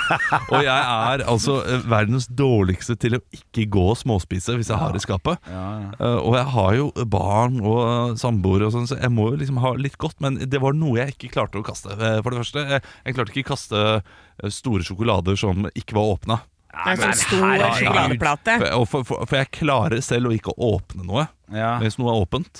Speaker 4: Og jeg er altså eh, verdens dårligste til å ikke gå og småspise hvis jeg har i skapet. Eh, og jeg har jo barn og eh, samboer og sånn, så jeg må jo liksom ha litt godt. Men det var noe jeg ikke klarte å kaste. Eh, for det første, jeg, jeg klarte ikke kaste eh, store sjokolader som ikke var åpna.
Speaker 3: Det er en sånn stor
Speaker 2: herregud.
Speaker 3: sjokoladeplate.
Speaker 4: For, og for, for, for jeg klarer selv å ikke åpne noe.
Speaker 2: Ja.
Speaker 4: Hvis noe er åpent,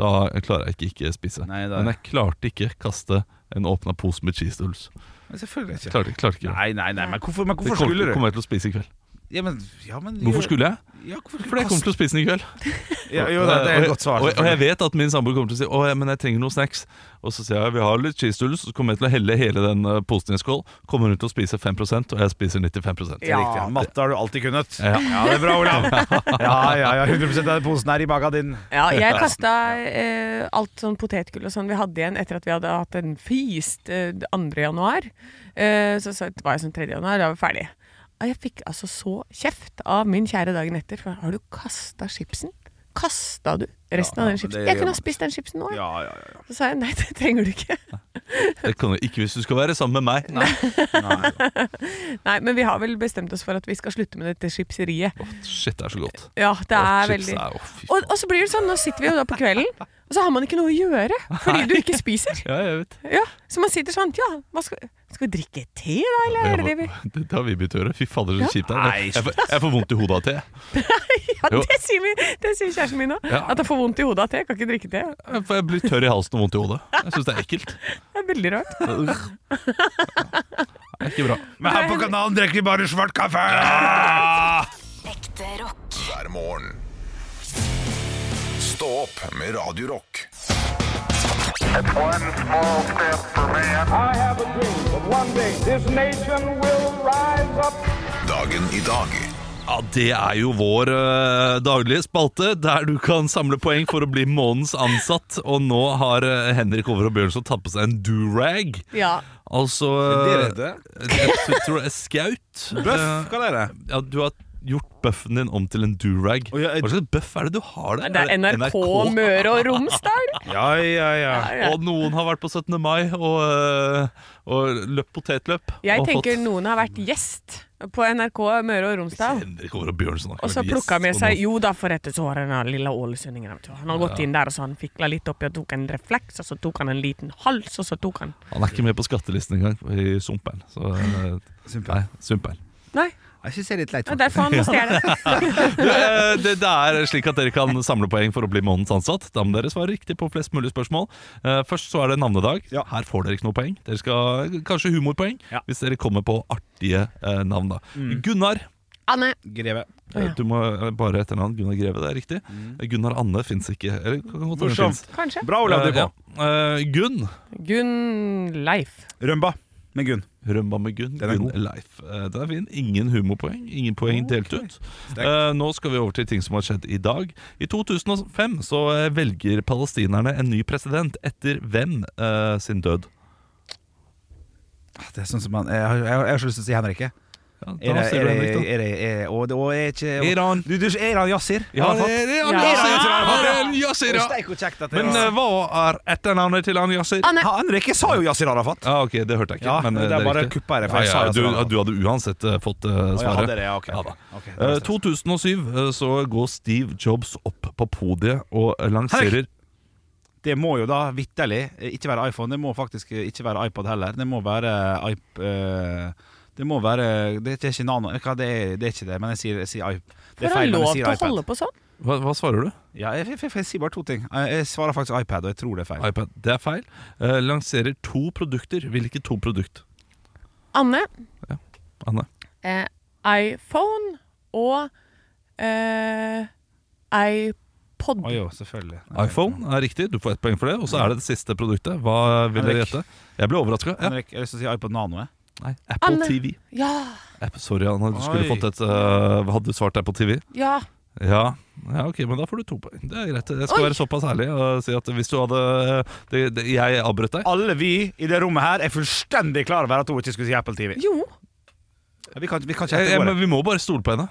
Speaker 4: da klarer jeg ikke ikke spise.
Speaker 2: Nei, da-
Speaker 4: Men jeg klarte ikke kaste en åpna pose med cheese doodles.
Speaker 2: Men Selvfølgelig ikke.
Speaker 4: Klarte, klarte ikke. det.
Speaker 2: Nei, nei, nei, men hvorfor, men
Speaker 4: Det
Speaker 2: hvorfor
Speaker 4: kom-
Speaker 2: skulle du?
Speaker 4: kommer jeg til å spise i kveld.
Speaker 2: Ja, men, ja, men,
Speaker 4: Hvorfor skulle jeg?
Speaker 2: ja, hvorfor skulle
Speaker 4: Fordi jeg kommer til å spise den i kveld.
Speaker 2: ja, Jo, det, det er
Speaker 4: Og jeg-
Speaker 2: et godt svar.
Speaker 4: Og, og jeg vet at min samboer kommer til å si Å, ja, men jeg trenger noen snacks. Og så sier jeg vi har litt cheese doodles, så kommer jeg til å helle hele den eh, posen i en skål. Kommer hun til å spise 5 og jeg spiser 95
Speaker 2: Ja. Riktig. Matte har du alltid kunnet.
Speaker 4: Ja.
Speaker 2: det er bra, Olav. Ja, ja, ja 100 av den posen er i baga din.
Speaker 3: Ja, jeg kasta eh, alt sånn potetgull og sånn vi hadde igjen etter at vi hadde hatt en feast eh, 2. januar. Eh, så, så var jeg sånn 3. januar, da var vi ferdig. Og jeg fikk altså så kjeft av min kjære dagen etter. For har du kasta chipsen? Kasta du resten
Speaker 2: Ja,
Speaker 3: av
Speaker 2: ja,
Speaker 3: den chipsen?
Speaker 2: det
Speaker 3: Jeg
Speaker 2: gjør
Speaker 3: kunne
Speaker 2: man.
Speaker 3: ha spist den chipsen nå. jeg.
Speaker 2: Ja, ja, ja.
Speaker 3: Så sa jeg nei, det trenger du ikke.
Speaker 4: Det kan du ikke hvis du skal være sammen med meg.
Speaker 3: Nei, Men vi har vel bestemt oss for at vi skal slutte med dette chipseriet.
Speaker 4: Å, Shit, det er så godt.
Speaker 3: Ja, det
Speaker 4: Å,
Speaker 3: er
Speaker 4: chips
Speaker 3: veldig
Speaker 4: er- å, fy
Speaker 3: og,
Speaker 4: faen.
Speaker 3: og så blir det sånn, nå sitter vi jo da på kvelden, og så har man ikke noe å gjøre fordi du ikke spiser.
Speaker 4: Ja, jeg vet.
Speaker 3: Ja, så man sitter sånn Ja, hva skal, skal vi drikke te, da, eller er det det vi
Speaker 4: Det har vi begynt å gjøre. Fy fader, så kjipt det er.
Speaker 2: Nei,
Speaker 4: Jeg, får- jeg får vondt i hodet av te.
Speaker 3: Ja,
Speaker 4: Jo.
Speaker 3: det sier, vi, det sier kjæresten min nå.
Speaker 4: Ja.
Speaker 3: At jeg får vondt i hodet av te. Jeg kan ikke drikke te.
Speaker 4: Jeg får- jeg blir tørr i halsen og vondt i hodet. Jeg syns det er ekkelt.
Speaker 3: Det er veldig rart.
Speaker 4: Det er ikke bra.
Speaker 2: Men her på kanalen drikker vi bare svart kaffe!
Speaker 6: Ekte rock.
Speaker 1: hver morgen. Stå opp med Radio Rock.
Speaker 7: One small step for man.
Speaker 8: I have a dream that one day this nation will rise up.
Speaker 1: Dagen i dag.
Speaker 4: Ja, Det er jo vår eh, daglige spalte, der du kan samle poeng for å bli månedens ansatt. Og nå har eh, Henrik Over og Bjørnson tatt på seg en durag.
Speaker 3: Ja.
Speaker 4: Altså eh,
Speaker 2: Det er
Speaker 4: Jeg tror det er skaut.
Speaker 2: Bøff, hva er det?
Speaker 4: Eh, Ja, du har gjort bøffen din om til en durag.
Speaker 2: Å, ja, jeg-
Speaker 4: Hva slags bøff er det du har der?
Speaker 3: Det er NRK Møre og Romsdal.
Speaker 2: Ja, ja, ja.
Speaker 4: Og noen har vært på 17. mai og, øh, og løpt potetløp.
Speaker 3: Jeg
Speaker 4: og
Speaker 3: tenker
Speaker 4: fått-
Speaker 3: noen har vært gjest på NRK Møre og Romsdal.
Speaker 4: Henrik Over og Bjørnson.
Speaker 3: Og så plukka med seg Jo da, for etter så har han den lille ålesundingen. vet du. Han har gått inn der og så han fikla litt oppi og tok en refleks, og så tok han en liten hals, og så tok han
Speaker 4: Han er ikke med på skattelisten engang, i Sumpen. Så, øh,
Speaker 2: Sumpen.
Speaker 4: nei, Sumpen.
Speaker 3: Nei,
Speaker 2: Jeg syns det er litt leit.
Speaker 3: det er derfor han må stjele.
Speaker 4: Eh, Det, det er slik at dere kan samle poeng for å bli månedens ansatt. Da må dere svare riktig på flest mulig spørsmål. Eh, Først så er det navnedag.
Speaker 2: Ja.
Speaker 4: Her får dere ikke noe poeng. Dere skal kanskje humorpoeng
Speaker 2: Ja. Mm.
Speaker 4: hvis dere kommer på artige eh, navn, da. Gunnar.
Speaker 3: Anne.
Speaker 2: Greve.
Speaker 3: Å, ja.
Speaker 4: Du må eh, bare etternavn. Gunnar Greve, det er riktig. Eh, Gunnar Anne fins ikke. Eller, kan godt hende den
Speaker 2: Mm. Morsomt.
Speaker 4: finnes.
Speaker 3: Kanskje.
Speaker 2: Bra, Olav. Du
Speaker 4: Eh,
Speaker 2: på.
Speaker 4: ja. Eh, Gunn.
Speaker 3: Gunn Leif.
Speaker 2: Rømba med Gunn.
Speaker 4: Rømba med Gunn.
Speaker 2: Den er
Speaker 4: Gunn
Speaker 2: god.
Speaker 4: Leif. Eh, Den er fin. Ingen humorpoeng. Ingen poeng delt ut. Eh, Nå skal vi over til ting som har skjedd i dag. I 2005 så eh, velger palestinerne en ny president etter hvem eh, sin død?
Speaker 2: Ah, Det er sånn som han, jeg, har- jeg, har- jeg har så lyst til å si Henrikke.
Speaker 4: Ja,
Speaker 2: Er
Speaker 4: da
Speaker 2: det,
Speaker 4: ser
Speaker 2: er
Speaker 4: du
Speaker 2: det,
Speaker 4: Henrik, da.
Speaker 2: er det, er, og, det- og er ikke og,
Speaker 4: Er han-
Speaker 2: Du, du, er han Yassir?
Speaker 4: Ja,
Speaker 2: Har han
Speaker 4: det
Speaker 2: fått?
Speaker 4: er det, han
Speaker 3: Ja.
Speaker 4: Yasir.
Speaker 3: Ja,
Speaker 4: Han
Speaker 2: ja,
Speaker 4: er
Speaker 2: ja.
Speaker 4: en Yasir,
Speaker 2: Det
Speaker 4: ja.
Speaker 2: er steik og kjekt at det
Speaker 4: Men
Speaker 2: var-
Speaker 4: eh, hva er etternavnet til han Yasir?
Speaker 3: Anne.
Speaker 2: Ha, Henrik, jeg sa jo Yassir Arafat!
Speaker 4: Ja, ok, det hørte jeg ikke.
Speaker 2: Ja,
Speaker 4: men, eh,
Speaker 2: det er bare
Speaker 4: riktig.
Speaker 2: kuppa her, for jeg
Speaker 4: ja,
Speaker 2: sa
Speaker 4: ja,
Speaker 2: det
Speaker 4: du,
Speaker 2: sånn.
Speaker 4: ja, du hadde uansett eh, fått eh,
Speaker 2: jeg
Speaker 4: svaret.
Speaker 2: hadde det, ja, ok, ok.
Speaker 4: da.
Speaker 2: Ok, det
Speaker 4: Eh,
Speaker 2: stemmer.
Speaker 4: 2007 eh, så går Steve Jobs opp på podiet og eh, lanserer
Speaker 2: Det må jo da vitterlig eh, ikke være iPhone. Det må faktisk eh, ikke være iPod heller. Det må være iP... eh, Det må være Det er ikke nano... Hva, det, er, det er ikke det, men jeg sier, jeg sier iP... Det
Speaker 3: Får
Speaker 2: er
Speaker 3: han
Speaker 2: feil, men
Speaker 3: lov
Speaker 2: jeg
Speaker 3: til
Speaker 2: sier
Speaker 3: å
Speaker 2: iPad.
Speaker 3: holde på sånn?
Speaker 4: hva, hva svarer du?
Speaker 2: Ja, jeg, jeg, jeg, jeg sier bare to ting. Eh, Jeg, jeg svarer faktisk iPad, og jeg tror det er feil.
Speaker 4: iPad. Det er feil. Eh, lanserer to produkter. Hvilke to produkt?
Speaker 3: Anne,
Speaker 4: Anne?
Speaker 3: eh, iPhone og eh, iPod.
Speaker 2: Å jo, selvfølgelig.
Speaker 4: iPhone er riktig, du får ett poeng for det. Og så er det det siste produktet. Hva vil dere
Speaker 2: Henrik.
Speaker 4: gjette? Jeg ble overraska. Ja.
Speaker 2: Henrik, jeg har lyst til å si iPod Nano. jeg.
Speaker 4: Nei, Apple
Speaker 3: Anne.
Speaker 4: TV.
Speaker 3: Ja,
Speaker 4: App- Sorry, Anne. Du skulle
Speaker 2: Oi.
Speaker 4: fått et eh, Hadde du svart Apple TV?
Speaker 3: ja.
Speaker 4: Ja. ja, ok, men da får du to poeng. Det er greit. Jeg skal
Speaker 3: Oi.
Speaker 4: være såpass ærlig og si at hvis du hadde det, det, Jeg avbrøt deg.
Speaker 2: Alle vi i det rommet her er fullstendig klar over at hun ikke skulle si Apple TV.
Speaker 3: Jo,
Speaker 2: Vi kan, vi kan ikke
Speaker 4: Jeg, jeg, Eh, men
Speaker 2: ettergå det.
Speaker 4: vi må bare stole på henne.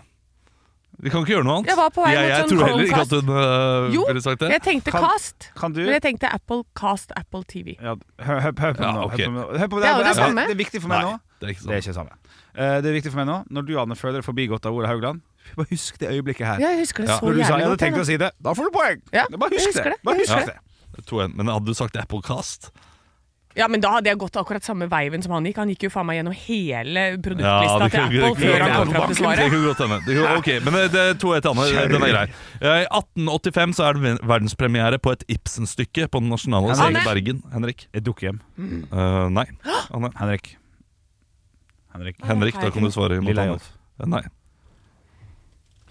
Speaker 4: Vi kan ikke gjøre noe annet.
Speaker 3: Jeg var på vei
Speaker 4: jeg,
Speaker 3: mot
Speaker 4: jeg
Speaker 3: sånn
Speaker 4: tror heller ikke
Speaker 3: Chromecast.
Speaker 4: at hun øh,
Speaker 3: jo.
Speaker 4: ville sagt det.
Speaker 3: jeg tenkte
Speaker 2: Kan-
Speaker 3: Cast.
Speaker 2: Kan du
Speaker 3: Men jeg tenkte Apple Cast Apple TV.
Speaker 2: Ja, hør, hør,
Speaker 4: Ja,
Speaker 2: hør på meg nå.
Speaker 4: ok.
Speaker 2: Hør på meg nå. Hør på
Speaker 3: Det er jo det
Speaker 2: Apple-
Speaker 3: samme.
Speaker 2: Det er viktig for meg
Speaker 4: Nei,
Speaker 2: nå.
Speaker 4: det er ikke sånn.
Speaker 2: Det er
Speaker 4: sant.
Speaker 2: ikke det samme. Eh, det er viktig for meg nå, når du Anne, føler deg forbigått av Ola Haugland, bare husk det øyeblikket her.
Speaker 3: Ja, jeg husker det
Speaker 4: Ja.
Speaker 3: så
Speaker 2: Når du
Speaker 3: jævlig
Speaker 2: sa jeg hadde
Speaker 3: godt.
Speaker 2: tenkt å
Speaker 3: jeg,
Speaker 2: si det, da får du poeng!
Speaker 3: Ja,
Speaker 2: bare husk
Speaker 3: jeg husker
Speaker 2: det.
Speaker 3: det.
Speaker 2: Bare husk
Speaker 4: Ja.
Speaker 2: det.
Speaker 4: To en, Men hadde du sagt Applecast?
Speaker 3: da. ja, Men da hadde jeg gått akkurat samme veiven som han gikk. Han gikk jo faen meg gjennom hele
Speaker 4: Ja,
Speaker 3: produktlista
Speaker 4: det kan-
Speaker 3: til
Speaker 4: det kan-
Speaker 3: Apple før
Speaker 4: det
Speaker 3: han
Speaker 4: kan-
Speaker 3: kom fram til
Speaker 4: Det
Speaker 3: svaret.
Speaker 4: kan godt hende. Det kan- Ok, men det, det er to et annet. Den er grei. Eh, I 1885 så er det ver- verdenspremiere på et Ibsen-stykke på Den nasjonale scenen i
Speaker 3: Anne.
Speaker 4: Bergen. Henrik?
Speaker 2: Et dukkehjem.
Speaker 4: Eh, nei. Anne.
Speaker 2: Henrik. Henrik.
Speaker 4: Henrik, da kan du svare. mot
Speaker 2: Lilla
Speaker 4: Anne.
Speaker 2: Jolf.
Speaker 4: Eh, Nei.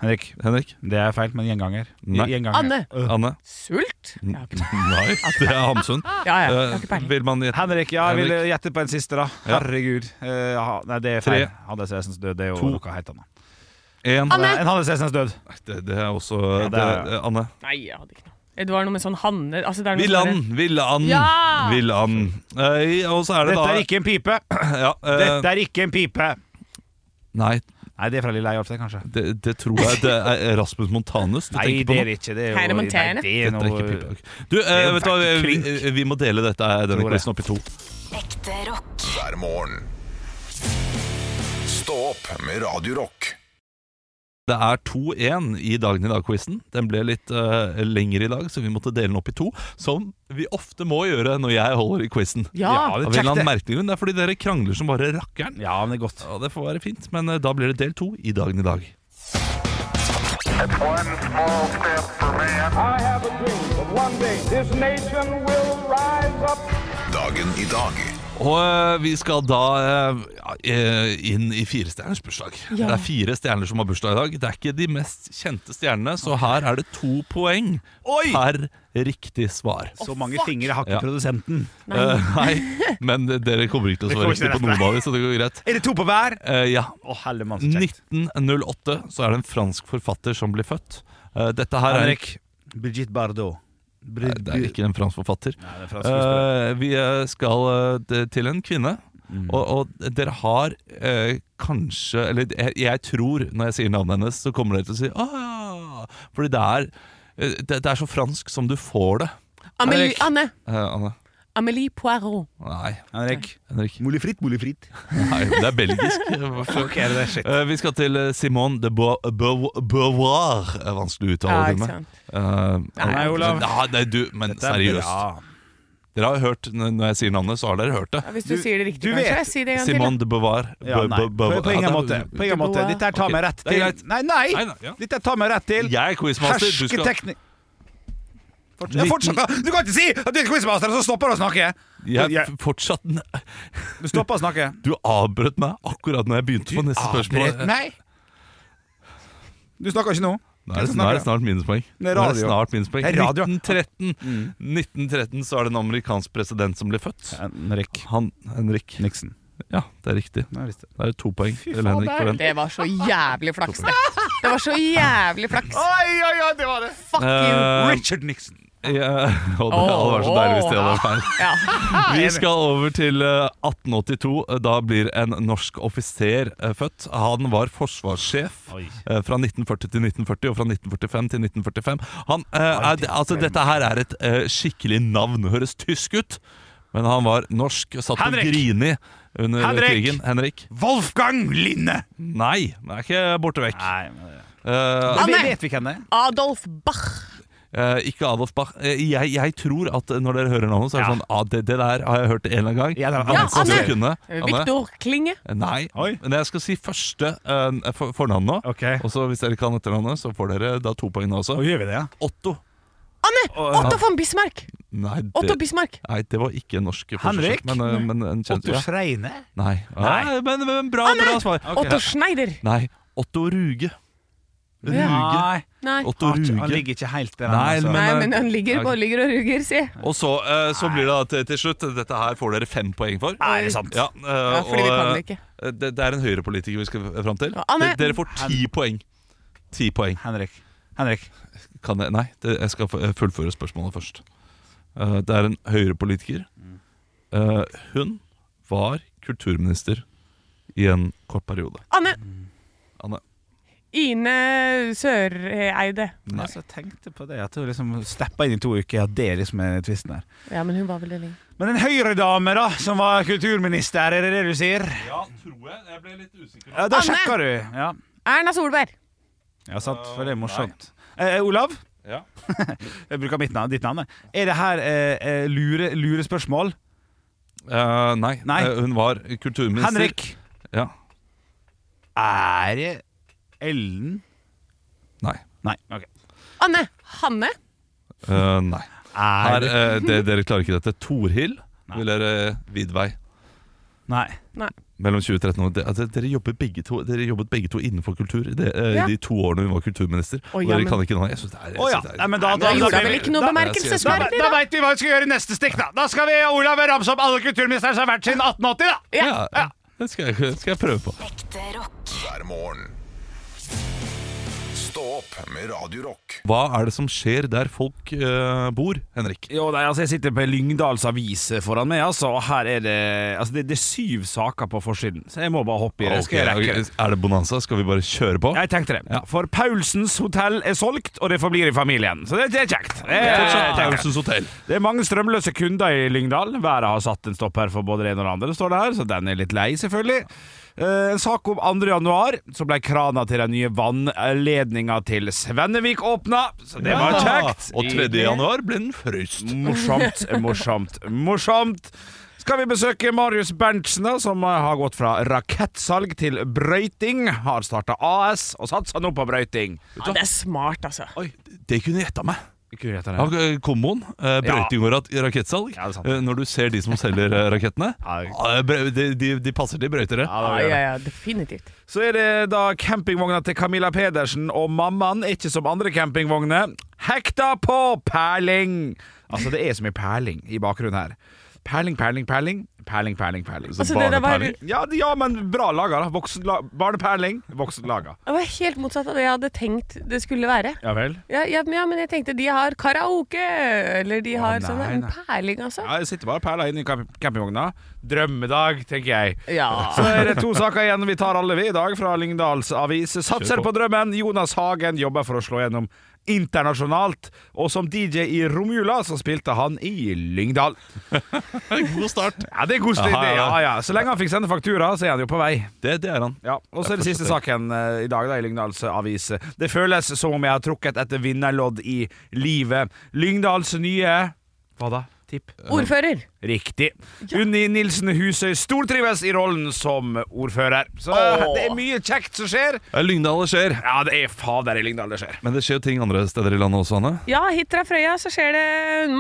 Speaker 2: Henrik.
Speaker 4: Henrik?
Speaker 2: Det er feil, men gjenganger.
Speaker 4: Nei.
Speaker 2: gjenganger.
Speaker 3: Anne.
Speaker 2: Øh.
Speaker 4: Anne?
Speaker 3: Sult? Jeg har ikke,
Speaker 4: Nei, det er Hamsun.
Speaker 2: Mm.
Speaker 3: ja, ja, jeg har
Speaker 4: Eh,
Speaker 3: ikke peiling.
Speaker 4: vil man gjette
Speaker 2: Henrik, ja, jeg
Speaker 4: Henrik.
Speaker 2: ville gjette på en siste, da.
Speaker 4: Ja.
Speaker 2: Herregud. Eh, ha- nei, det er feil.
Speaker 4: Tre.
Speaker 2: Hannes Esens død. Det er
Speaker 4: To.
Speaker 2: jo noe helt annet.
Speaker 4: én
Speaker 3: Anne.
Speaker 2: En Hannes Esens død.
Speaker 4: det, det er også
Speaker 2: det
Speaker 4: det,
Speaker 2: er-
Speaker 4: eh, Anne.
Speaker 3: Nei, jeg hadde ikke noe. Det var noe med sånn Hanne altså, det er noe
Speaker 4: Villand! Villand!
Speaker 3: Ja!
Speaker 4: Villand. Eh, og så er det
Speaker 2: Dette
Speaker 4: da
Speaker 2: er ikke en pipe!
Speaker 4: ja, eh,
Speaker 2: Dette er ikke en pipe!
Speaker 4: Nei,
Speaker 2: Nei, det er fra Lille Eyolf, det, kanskje.
Speaker 4: det, det tror jeg det er Rasmus Montanus du
Speaker 2: Nei,
Speaker 4: tenker på.
Speaker 2: det
Speaker 4: nå.
Speaker 2: er det ikke. Det er jo,
Speaker 3: Heine
Speaker 2: nei,
Speaker 3: Montaigne?
Speaker 2: det er
Speaker 4: Dette er ikke
Speaker 2: noe
Speaker 4: pipa. Du, eh,
Speaker 2: jo
Speaker 4: vet du hva,
Speaker 2: faktisk
Speaker 4: vi,
Speaker 2: klink.
Speaker 4: vi må dele dette, denne
Speaker 2: Tror det.
Speaker 4: quizen opp i to.
Speaker 6: Ekte rock.
Speaker 1: hver morgen. Stå opp med Radio Rock.
Speaker 4: Det er 2-1 i Dagen i dag-quizen. Den ble litt eh, lengre i dag, så vi måtte dele den opp i to. Som vi ofte må gjøre når jeg holder i quizen.
Speaker 3: Ja.
Speaker 2: Ja, det
Speaker 4: Av
Speaker 2: er
Speaker 4: en eller
Speaker 2: kjekt,
Speaker 4: annen
Speaker 2: det.
Speaker 4: merkelig grunn. Det er fordi dere krangler som bare rakkeren.
Speaker 2: Ja, men det er godt.
Speaker 4: Ja, det får være fint, men eh, da blir det del to i Dagen i dag.
Speaker 7: It's one small step for man.
Speaker 8: I have a dream that one day this nation will rise up.
Speaker 1: Dagen i dag
Speaker 4: Og eh, vi skal da eh, ja, eh, inn i firestjerners bursdag.
Speaker 3: Ja.
Speaker 4: Det er fire stjerner som har bursdag i dag. Det er ikke de mest kjente stjernene, så her er det to poeng per riktig svar.
Speaker 2: Så mange fingre har ikke
Speaker 4: Ja.
Speaker 2: produsenten.
Speaker 4: Eh, nei, men dere kommer ikke til å svare
Speaker 2: kommer ikke
Speaker 4: riktig på
Speaker 2: til
Speaker 4: noen av dem, så det går greit.
Speaker 2: Er det to på hver?
Speaker 4: Eh, ja.
Speaker 2: Å, helle mann, så kjekt.
Speaker 4: 1908 så er det en fransk forfatter som blir født. Eh, dette her er,
Speaker 2: Henrik. Brigitte Bardot.
Speaker 4: Nei, det er ikke en fransk forfatter.
Speaker 2: Nei, det er fransk skuespiller.
Speaker 4: Eh, vi eh, skal eh, d- til en kvinne. Og, og dere har eh, kanskje Eller jeg, jeg tror, når jeg sier navnet hennes, så kommer dere til å si ah, Fordi det er, eh, det, det er så fransk som du får det.
Speaker 3: Amelie,
Speaker 2: Henrik.
Speaker 3: Anne.
Speaker 4: Eh, Anne?
Speaker 3: Amelie Poirot.
Speaker 4: Nei,
Speaker 2: Henrik.
Speaker 4: Henrik.
Speaker 2: Molifritt, molifritt.
Speaker 4: Nei, det er belgisk.
Speaker 2: Ok, det er shit.
Speaker 4: Eh, vi skal til eh, Simone de Bo- Bo- Beauvoir. Det er vanskelig å uttale
Speaker 3: Ja,
Speaker 4: det
Speaker 3: ikke
Speaker 4: med.
Speaker 3: sant.
Speaker 4: Eh,
Speaker 2: Nei, Olav.
Speaker 4: Ja, nei, du, men
Speaker 2: Dette er
Speaker 4: seriøst.
Speaker 2: bra.
Speaker 4: Dere har jo hørt, n- Når jeg sier navnet, så har dere hørt det.
Speaker 3: Ja, Hvis du,
Speaker 2: Du-
Speaker 3: sier det riktig,
Speaker 2: du
Speaker 3: kanskje.
Speaker 2: vet-
Speaker 3: Jeg sier det en gang
Speaker 4: Simone
Speaker 3: til. da.
Speaker 4: de Beauvoir.
Speaker 2: Ja, nei.
Speaker 4: Be-
Speaker 2: På,
Speaker 4: be-
Speaker 2: på ingen
Speaker 4: Ja,
Speaker 2: måte.
Speaker 4: da-
Speaker 2: På ingen måte. Dette her tar
Speaker 4: Ok,
Speaker 2: meg rett
Speaker 4: det
Speaker 2: til.
Speaker 4: er greit.
Speaker 2: Nei, nei!
Speaker 4: Nei, nei, ja.
Speaker 2: Dette her tar meg rett til
Speaker 4: Jeg er quizmaster. Du skal
Speaker 2: hersketeknikk. Fortsett- Ja, fortsett, da. Du kan ikke si at du er quizmaster, og så stopper du å snakke!
Speaker 4: jeg,
Speaker 2: Jeg-
Speaker 4: f- fortsatt n-
Speaker 2: Du stopper å snakke.
Speaker 4: Du avbrøt meg akkurat når jeg begynte på neste
Speaker 2: Avbrøt
Speaker 4: spørsmål.
Speaker 2: meg! Du snakker ikke nå?
Speaker 4: Nå er det, nå er det snart minuspoeng. Nå
Speaker 2: Det er
Speaker 4: er det
Speaker 2: radio.
Speaker 4: snart minuspoeng.
Speaker 2: Det er radio. Mm.
Speaker 4: 1913. 1913 så er det en amerikansk president som blir født.
Speaker 2: Henrik
Speaker 4: Han Henrik.
Speaker 2: Nixon.
Speaker 4: Ja, det er riktig. Det er to poeng til Henrik for den.
Speaker 3: Det var så jævlig flaks, det. Det var så jævlig flaks.
Speaker 2: Oi, oi, oi, det var det!
Speaker 3: Fuck you.
Speaker 4: Eh,
Speaker 2: Um, Richard Nixon.
Speaker 4: Ja, og det hadde vært så deilig hvis det hadde vært feil.
Speaker 3: Ja.
Speaker 4: Vi skal over til eh, 1882. Da blir en norsk offiser eh, født. Han var forsvarssjef
Speaker 2: Oi.
Speaker 4: eh, fra 1940 til 1940 og fra 1945 til 1945. Han, eh, er, altså, dette her er et eh, skikkelig navn. Høres tysk ut, men han var norsk. Satt og
Speaker 2: Henrik!
Speaker 4: grini under
Speaker 2: Henrik!
Speaker 4: krigen. Henrik.
Speaker 2: Wolfgang Linne!
Speaker 4: Nei, han er ikke borte vekk.
Speaker 2: Nei, men det-
Speaker 4: Eh,
Speaker 2: Men
Speaker 3: Anne!
Speaker 2: Vet vi hvem det er?
Speaker 3: Adolf Bach.
Speaker 4: Eh, ikke Adolf Bach. Eh, jeg, jeg tror at når dere hører navnet, så er det
Speaker 2: Ja.
Speaker 4: sånn ah, det, det der har jeg hørt en eller annen gang.
Speaker 2: Ja, det var
Speaker 4: Men
Speaker 3: Anne.
Speaker 4: så
Speaker 3: Anne.
Speaker 4: kunne- Anne.
Speaker 3: Viktor Klinge.
Speaker 4: Nei,
Speaker 2: Oi.
Speaker 4: men jeg skal si første eh, for, fornavnet.
Speaker 2: Ok.
Speaker 4: Og så hvis dere kan etternavnet, så får dere da to poeng også.
Speaker 2: Og gjør vi det, ja?
Speaker 4: Otto.
Speaker 3: Anne! Otto von Bismarck.
Speaker 4: Nei,
Speaker 3: Otto
Speaker 4: det,
Speaker 3: Bismarck.
Speaker 4: nei, det var ikke norsk
Speaker 2: Henrik?
Speaker 4: forsvarssjef, Men, eh, men en kjent
Speaker 2: Otto
Speaker 4: ja.
Speaker 2: Schreine?
Speaker 4: Nei.
Speaker 2: Nei.
Speaker 4: Nei, men, men bra, bra svar.
Speaker 3: Otto Schneider.
Speaker 4: Nei, Otto Ruge. Ruge.
Speaker 2: Nei,
Speaker 3: Nei.
Speaker 4: Otto
Speaker 2: han- han
Speaker 4: Ruge.
Speaker 2: ligger ikke helt der.
Speaker 4: Nei,
Speaker 2: altså.
Speaker 4: men-
Speaker 3: Nei, men han ligger, bare ligger og ruger, si.
Speaker 4: Og så, eh, så blir det da til, til slutt Dette her får dere fem poeng for.
Speaker 2: Nei, det er sant.
Speaker 4: Ja, eh,
Speaker 3: Ja, fordi vi
Speaker 4: og,
Speaker 3: kan
Speaker 4: eh,
Speaker 3: det ikke.
Speaker 4: Det, det er en høyrepolitiker vi skal fram til.
Speaker 3: Ja, Anne.
Speaker 4: Dere- Dere får ti poeng. Ti poeng.
Speaker 2: Henrik. Henrik.
Speaker 4: Kan jeg, nei, det, jeg skal fu- fullføre spørsmålet først. Eh, det er en høyrepolitiker. Uh, hun var kulturminister i en kort periode.
Speaker 3: Anne!
Speaker 4: Anne.
Speaker 3: Ine Søreide.
Speaker 4: Nei.
Speaker 2: Altså, jeg tenkte på det, at du liksom steppa inn i to uker, at det liksom er tvisten her.
Speaker 3: Ja, men hun var vel det lenge.
Speaker 2: Men en høyredame, da, som var kulturminister, er det det du sier?
Speaker 4: Ja, tror jeg. Jeg ble litt usikker.
Speaker 2: Ja, Da
Speaker 3: Anne!
Speaker 2: sjekker du. Ja,
Speaker 3: Erna Solberg.
Speaker 2: ja sant, for det er morsomt. Eh, eh, Olav,
Speaker 4: Ja.
Speaker 2: jeg bruker mitt navn, ditt navn. jeg. Er det her eh, eh, lure, lure spørsmål?
Speaker 4: Eh, nei,
Speaker 2: Nei.
Speaker 4: eh, hun var kulturminister.
Speaker 2: Henrik,
Speaker 4: Ja.
Speaker 2: er det Ellen
Speaker 4: Nei.
Speaker 2: Nei. ok
Speaker 3: Anne! Hanne.
Speaker 4: Eh, nei.
Speaker 2: Er
Speaker 4: Her,
Speaker 2: det
Speaker 4: eh, det, dere klarer ikke dette. Torhild
Speaker 2: Nei.
Speaker 4: eller eh, Vidvei.
Speaker 2: Nei.
Speaker 4: Mellom 2013 og det- altså, dere, jobber begge to, dere jobbet begge to innenfor kultur i det, eh,
Speaker 3: Ja.
Speaker 4: de to årene hun var kulturminister.
Speaker 3: Å,
Speaker 4: og
Speaker 3: ja,
Speaker 4: dere
Speaker 3: men-
Speaker 4: kan ikke noe Jeg synes det er, jeg
Speaker 2: Å ja.
Speaker 4: synes det er-
Speaker 2: Nei, men da, da,
Speaker 3: Hun
Speaker 2: da,
Speaker 3: gjorde vel ikke noe
Speaker 2: da, da,
Speaker 3: bemerkelsesverdig,
Speaker 2: da
Speaker 3: da?
Speaker 2: veit vi hva vi skal gjøre i neste stikk, da. Da skal vi Olav ramse opp alle kulturministeren som har vært siden 1880, da.
Speaker 3: Ja.
Speaker 4: ja, Det skal jeg, det skal jeg prøve på.
Speaker 6: Ekte rock.
Speaker 1: hver morgen. Stå opp med Radio Rock.
Speaker 4: Hva er det som skjer der folk eh, bor, Henrik?
Speaker 2: Jo, nei, altså Jeg sitter på Lyngdals avis foran meg, altså, og her er det Altså det, det er syv saker på forsiden, så jeg må bare hoppe i det. Skal jeg
Speaker 4: Ok,
Speaker 2: rekke det?
Speaker 4: ok, Er det bonanza? Skal vi bare kjøre på?
Speaker 2: Jeg tenkte det. For Paulsens hotell er solgt, og det forblir i familien. Så det, det er kjekt. Det,
Speaker 4: Fortsatt
Speaker 2: det,
Speaker 4: Paulsens hotell.
Speaker 2: det er mange strømløse kunder i Lyngdal. Været har satt en stopper for både det ene og det andre, står det her, så den er litt lei, selvfølgelig. Eh, En sak om 2. januar, så ble krana til den nye vannledninga til Svennevik åpna, så det var kjekt.
Speaker 4: Ja, Ah, Og 3. januar ble den
Speaker 2: Mm.
Speaker 4: frøst.
Speaker 2: Morsomt, morsomt, morsomt. Skal vi besøke Marius Berntsen, da, som har gått fra rakettsalg til brøyting. Har starta AS og satsa nå på brøyting.
Speaker 3: Ja, det er smart, altså.
Speaker 4: Oi, det kunne gjetta meg. Ja,
Speaker 2: Ja,
Speaker 4: eh, Komboen, eh, brøyting og rat- rakettsalg.
Speaker 2: Ja, det er sant.
Speaker 4: Eh, Når du ser de som selger eh, rakettene,
Speaker 2: Ja, det-
Speaker 4: ah, brø- de, de, de passer til brøytere.
Speaker 2: det
Speaker 3: Ja,
Speaker 2: gjør
Speaker 3: ja,
Speaker 2: det.
Speaker 3: ja, definitivt.
Speaker 2: Så er det da campingvogna til Camilla Pedersen og mammaen, er ikke som andre campingvogner, hekta på perling! Altså, det er så mye perling i bakgrunnen her. Perling, perling, perling. Perling, perling, perling.
Speaker 3: Altså, det der var-
Speaker 4: Barneperling.
Speaker 2: Ja, ja, men bra laga, da. Voksen la barneperling, voksen laga.
Speaker 3: Det var helt motsatt av det jeg hadde tenkt det skulle være.
Speaker 2: Ja vel?
Speaker 3: Ja, ja, men- ja men jeg tenkte de har karaoke, eller de har
Speaker 2: nei,
Speaker 3: sånn en
Speaker 2: nei.
Speaker 3: perling, altså.
Speaker 2: Ja, jeg sitter bare og perler inn i camp- campingvogna. Drømmedag, tenker jeg. Så
Speaker 3: Ja.
Speaker 2: er det to saker igjen vi tar alle ved i dag fra Lyngdals Avis. Satser
Speaker 4: Kjør på.
Speaker 2: på drømmen. Jonas Hagen jobber for å slå gjennom internasjonalt. Og som DJ i romjula så spilte han i Lyngdal.
Speaker 4: Eh, God start.
Speaker 2: Ja, det er god stil,
Speaker 4: Aha,
Speaker 2: det. Ja,
Speaker 4: ja.
Speaker 2: ja. Så lenge han fikk sende faktura, så er han jo på vei.
Speaker 4: Det, det er han.
Speaker 2: Ja, Og så er det
Speaker 4: Jeg
Speaker 2: siste saken eh, i dag da, i Lyngdals Avis. Det føles som om jeg har trukket et vinnerlodd i livet. Lyngdals nye Hva da? Tipp.
Speaker 3: Ordfører.
Speaker 2: Riktig. Unni Nilsen Husøy stortrives i rollen som ordfører. Så
Speaker 3: Åh.
Speaker 2: det er mye kjekt som skjer.
Speaker 4: Ja, Lyngdal det skjer.
Speaker 2: Ja, det er fader i Lyngdal det skjer.
Speaker 4: Men det skjer jo ting andre steder i landet også, Anne.
Speaker 3: Ja, hit fra Frøya så skjer det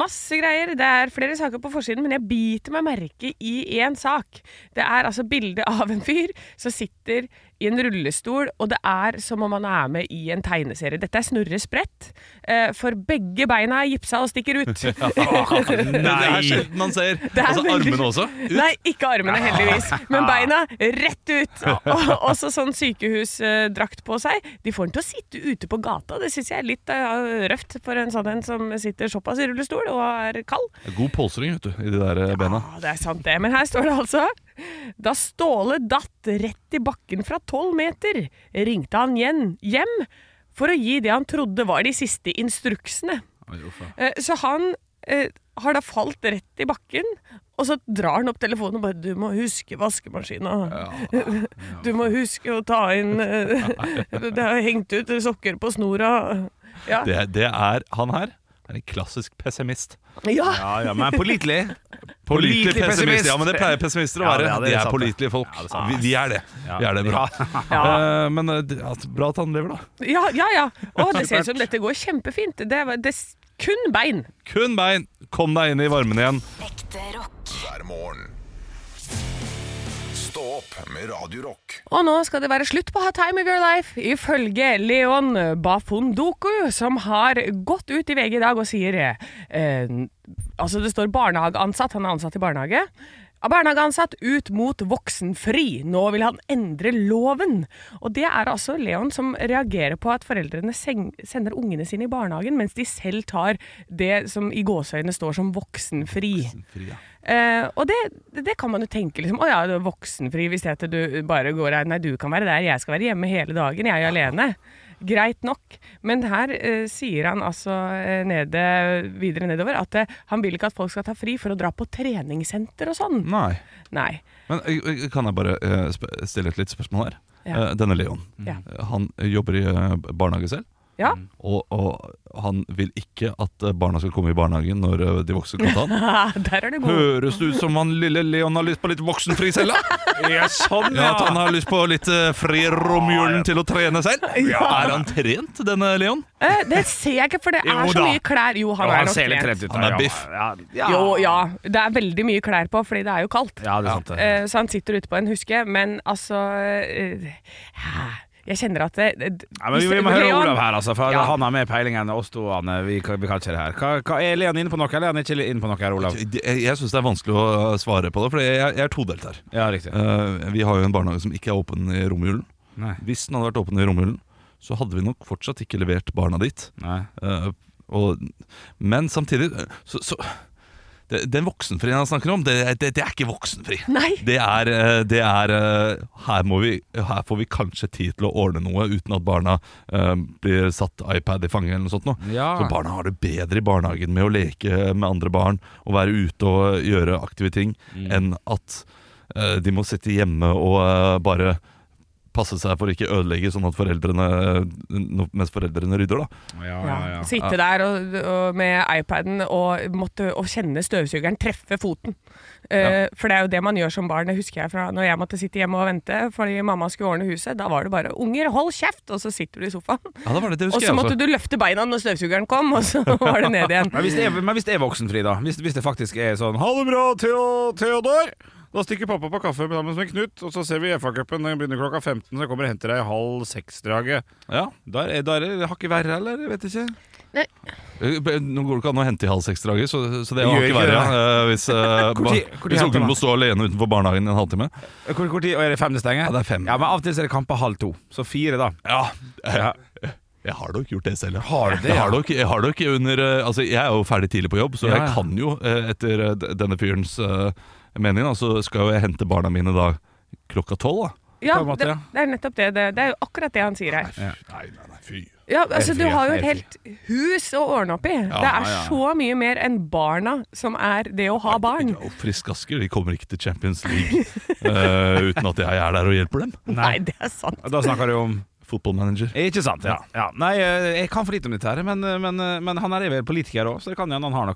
Speaker 3: masse greier. Det er flere saker på forsiden, men jeg biter meg merke i én sak. Det er altså bilde av en fyr som sitter i en rullestol, og det er som om han er med i en tegneserie. Dette er Snorre Sprett, eh, for begge beina er gipsa og stikker ut.
Speaker 4: Det er sjelden man ser.
Speaker 3: er
Speaker 4: Altså
Speaker 3: veldig-
Speaker 4: armene også.
Speaker 3: Nei, ikke armene, heldigvis. Men beina rett ut. Og også sånn sykehusdrakt på seg. De får den til å sitte ute på gata. Det syns jeg er litt eh, røft for en sånn en som sitter såpass i rullestol og er kald.
Speaker 4: God polstring vet du, i de der eh, bena.
Speaker 3: Ja, det er sant det. Men her står det altså Da Ståle datt rett i bakken fra tolv meter, ringte han igjen hjem for å gi det han trodde var de siste instruksene. Eh, Så han eh, har da falt rett i bakken, og så drar han opp telefonen og bare 'Du må huske vaskemaskina'. Du må huske å ta inn eh, Det har hengt ut sokker på snora. Ja.
Speaker 4: Det, det er han her. Er en klassisk pessimist.
Speaker 3: ja.
Speaker 2: Ja, ja, men pålitelig.
Speaker 4: Pålitelig
Speaker 2: Pålitelig pessimist.
Speaker 4: Ja, men det pleier pessimister å
Speaker 2: Ja,
Speaker 4: være.
Speaker 2: ja, det er
Speaker 4: de er
Speaker 2: sant, det.
Speaker 4: pålitelige folk.
Speaker 2: Ja, det er sant.
Speaker 4: vi, vi er det.
Speaker 2: Ja.
Speaker 4: Vi er det bra.
Speaker 3: Ja.
Speaker 4: Eh, men eh, det- at, bra at han lever, da.
Speaker 3: Ja, ja, ja. Å, det ser ut som dette går kjempefint. Det var det, s- kun bein.
Speaker 4: Kun bein! Kom deg inn i varmen igjen.
Speaker 6: Ekte rock.
Speaker 1: hver morgen. Stå opp med Radio Rock.
Speaker 3: Og nå skal det være slutt på Hot Time of Your Life, ifølge Leon Bafundoku, som har gått ut i VG i dag og sier eh, Altså, det står barnehageansatt, han er ansatt i barnehage. Av Barnehageansatt ut mot voksenfri. Nå vil han endre loven. Og det er altså Leon som reagerer på at foreldrene seng- sender ungene sine i barnehagen, mens de selv tar det som i gåseøynene står som voksenfri. Eh, og det, det kan man jo tenke liksom, Å ja, du er voksenfri hvis det heter du bare går her Nei, du kan være der, jeg skal være hjemme hele dagen Jeg er jo alene Greit nok Men her eh, sier han altså eh, nede, videre nedover At eh, han vil ikke at folk skal ta fri for å dra på treningssenter og sånn
Speaker 2: Mm.
Speaker 4: Nei.
Speaker 3: Nei
Speaker 4: Men eh, kan jeg bare eh, sp- stille et litt spørsmål her?
Speaker 3: Ja.
Speaker 4: Eh, Denne Leon,
Speaker 3: Ja.
Speaker 4: eh, han jobber i eh, barnehage selv.
Speaker 3: Ja,
Speaker 2: Mm.
Speaker 4: Og, og han vil ikke at eh, barna skal komme i barnehagen når eh, de vokser godt an.
Speaker 3: ah, der er det god
Speaker 4: Høres det ut som han lille Leon har lyst på litt voksenfri selv, da?
Speaker 2: Ja, sånn,
Speaker 4: Ja, at han
Speaker 2: ja.
Speaker 4: har lyst på litt eh, fri romjulen til å trene selv? Er han trent, denne Leon?
Speaker 3: Eh, Det ser jeg ikke, for det er
Speaker 2: Jo
Speaker 3: så
Speaker 2: da.
Speaker 3: mye klær Jo, han
Speaker 2: Jo,
Speaker 3: er
Speaker 2: han
Speaker 3: nok
Speaker 2: ser litt trent
Speaker 3: trent
Speaker 2: ut.
Speaker 4: Han
Speaker 2: da,
Speaker 4: er
Speaker 2: ja.
Speaker 4: biff.
Speaker 2: Ja, ja.
Speaker 3: Jo, ja, det er veldig mye klær på Fordi det er jo kaldt
Speaker 2: Ja, det er sant. det.
Speaker 3: Eh, Så han sitter ute på en huske, men altså eh, Jeg kjenner at det, det
Speaker 2: Ja, men vi, vi må
Speaker 3: hvis-
Speaker 2: høre
Speaker 3: Leon-
Speaker 2: Olav her, altså, for
Speaker 3: Ja.
Speaker 2: han har mer peiling enn oss to. Han, eh, vi, kan- vi kan ikke det her. Hva, hva, er Leon inne på noe, eller er han ikke inne på noe her, Olav?
Speaker 4: Jeg, jeg syns det er vanskelig å eh, svare på det, for jeg, jeg er todelt her.
Speaker 2: Ja, riktig.
Speaker 4: Eh, vi har jo en barnehage som ikke er åpen i romjulen.
Speaker 2: Nei.
Speaker 4: Hvis den hadde vært åpen i romjulen, så hadde vi nok fortsatt ikke levert barna dit.
Speaker 2: Nei.
Speaker 4: Eh, og, men samtidig eh, så, så det, Den voksenfrien han snakker om, det, det, det er ikke voksenfri.
Speaker 3: Nei.
Speaker 4: Det er, eh, det er eh, her, må vi, her får vi kanskje tid til å ordne noe uten at barna eh, blir satt iPad i fanget eller noe sånt. Nå.
Speaker 2: Ja.
Speaker 4: Så barna har det bedre i barnehagen med å leke med andre barn og være ute og gjøre aktive ting, enn at eh, de må sitte hjemme og eh, bare passe seg for å ikke ødelegge sånn at foreldrene, nå- mens foreldrene rydder. da
Speaker 2: Ja, ja,
Speaker 3: Ja,
Speaker 2: ja.
Speaker 3: sitte der og, og med iPaden og, måtte, og kjenne støvsugeren treffe foten. Eh, For det er jo det man gjør som barn. Det husker jeg fra når jeg måtte sitte hjemme og vente fordi mamma skulle ordne huset. Da var det bare 'unger, hold kjeft', og så sitter du i sofaen.
Speaker 4: Ja, det altså. var det, det
Speaker 3: Og
Speaker 4: husker
Speaker 3: så
Speaker 4: jeg
Speaker 3: måtte
Speaker 4: også.
Speaker 3: du løfte beina når støvsugeren kom, og så var det ned igjen.
Speaker 2: Men hvis det er, men hvis det er voksenfri, da? Hvis, hvis det faktisk er sånn 'ha det bra, Theo- Theodor', da stikker pappa på kaffe sammen med Knut, og så ser vi FA-cupen. Den begynner klokka 15, så kommer og henter deg i halv seks-draget.
Speaker 4: Ja.
Speaker 2: Da er da er det hakket verre, eller? Jeg vet ikke.
Speaker 4: Eh, Nå går det ikke an å hente i halv seks-draget, så, så det
Speaker 2: Gjør
Speaker 4: har ikke
Speaker 2: ikke
Speaker 4: verre.
Speaker 2: det.
Speaker 4: eh, hvis uh,
Speaker 2: Hvor tid- hvor tid
Speaker 4: hvis
Speaker 2: henter
Speaker 4: ungen
Speaker 2: man?
Speaker 4: må stå alene utenfor barnehagen i en halvtime.
Speaker 2: Hvor, hvor tid, og Er det fem det stenger?
Speaker 4: Ja, det er fem.
Speaker 2: Ja, men Av og til så er det kamper halv to. Så fire, da.
Speaker 4: Ja,
Speaker 2: Ja.
Speaker 4: Eh, Jeg har nok gjort det selv. ja.
Speaker 2: Har du det,
Speaker 4: Jeg
Speaker 2: ja?
Speaker 4: har nok, jeg har nok under eh, Altså, jeg er jo ferdig tidlig på jobb, så
Speaker 2: Ja,
Speaker 4: jeg
Speaker 2: ja.
Speaker 4: kan jo, eh, etter eh, d- denne fyrens eh, mening, da, så skal jo jeg hente barna mine da klokka tolv. da.
Speaker 3: Ja,
Speaker 2: på en måte,
Speaker 3: det,
Speaker 2: ja.
Speaker 3: det er nettopp det. Det, det er jo akkurat det han sier her.
Speaker 4: Nei, nei, nei, fy.
Speaker 3: Ja, altså Du
Speaker 2: fri,
Speaker 3: har jo
Speaker 2: helt
Speaker 3: et helt hus å ordne opp i. det er
Speaker 2: ja.
Speaker 3: så mye mer enn barna som er det å ha barn.
Speaker 4: Og Frisk Asker de kommer ikke til Champions League eh, uten at jeg er der og hjelper dem.
Speaker 3: Nei, det er sant.
Speaker 2: Da snakker du om
Speaker 4: Fotballmanager.
Speaker 2: Ikke sant, ja. ja. Nei, eh, jeg kan for lite om dette, her men, eh, men, men han er vel politiker òg, så det kan hende han har noe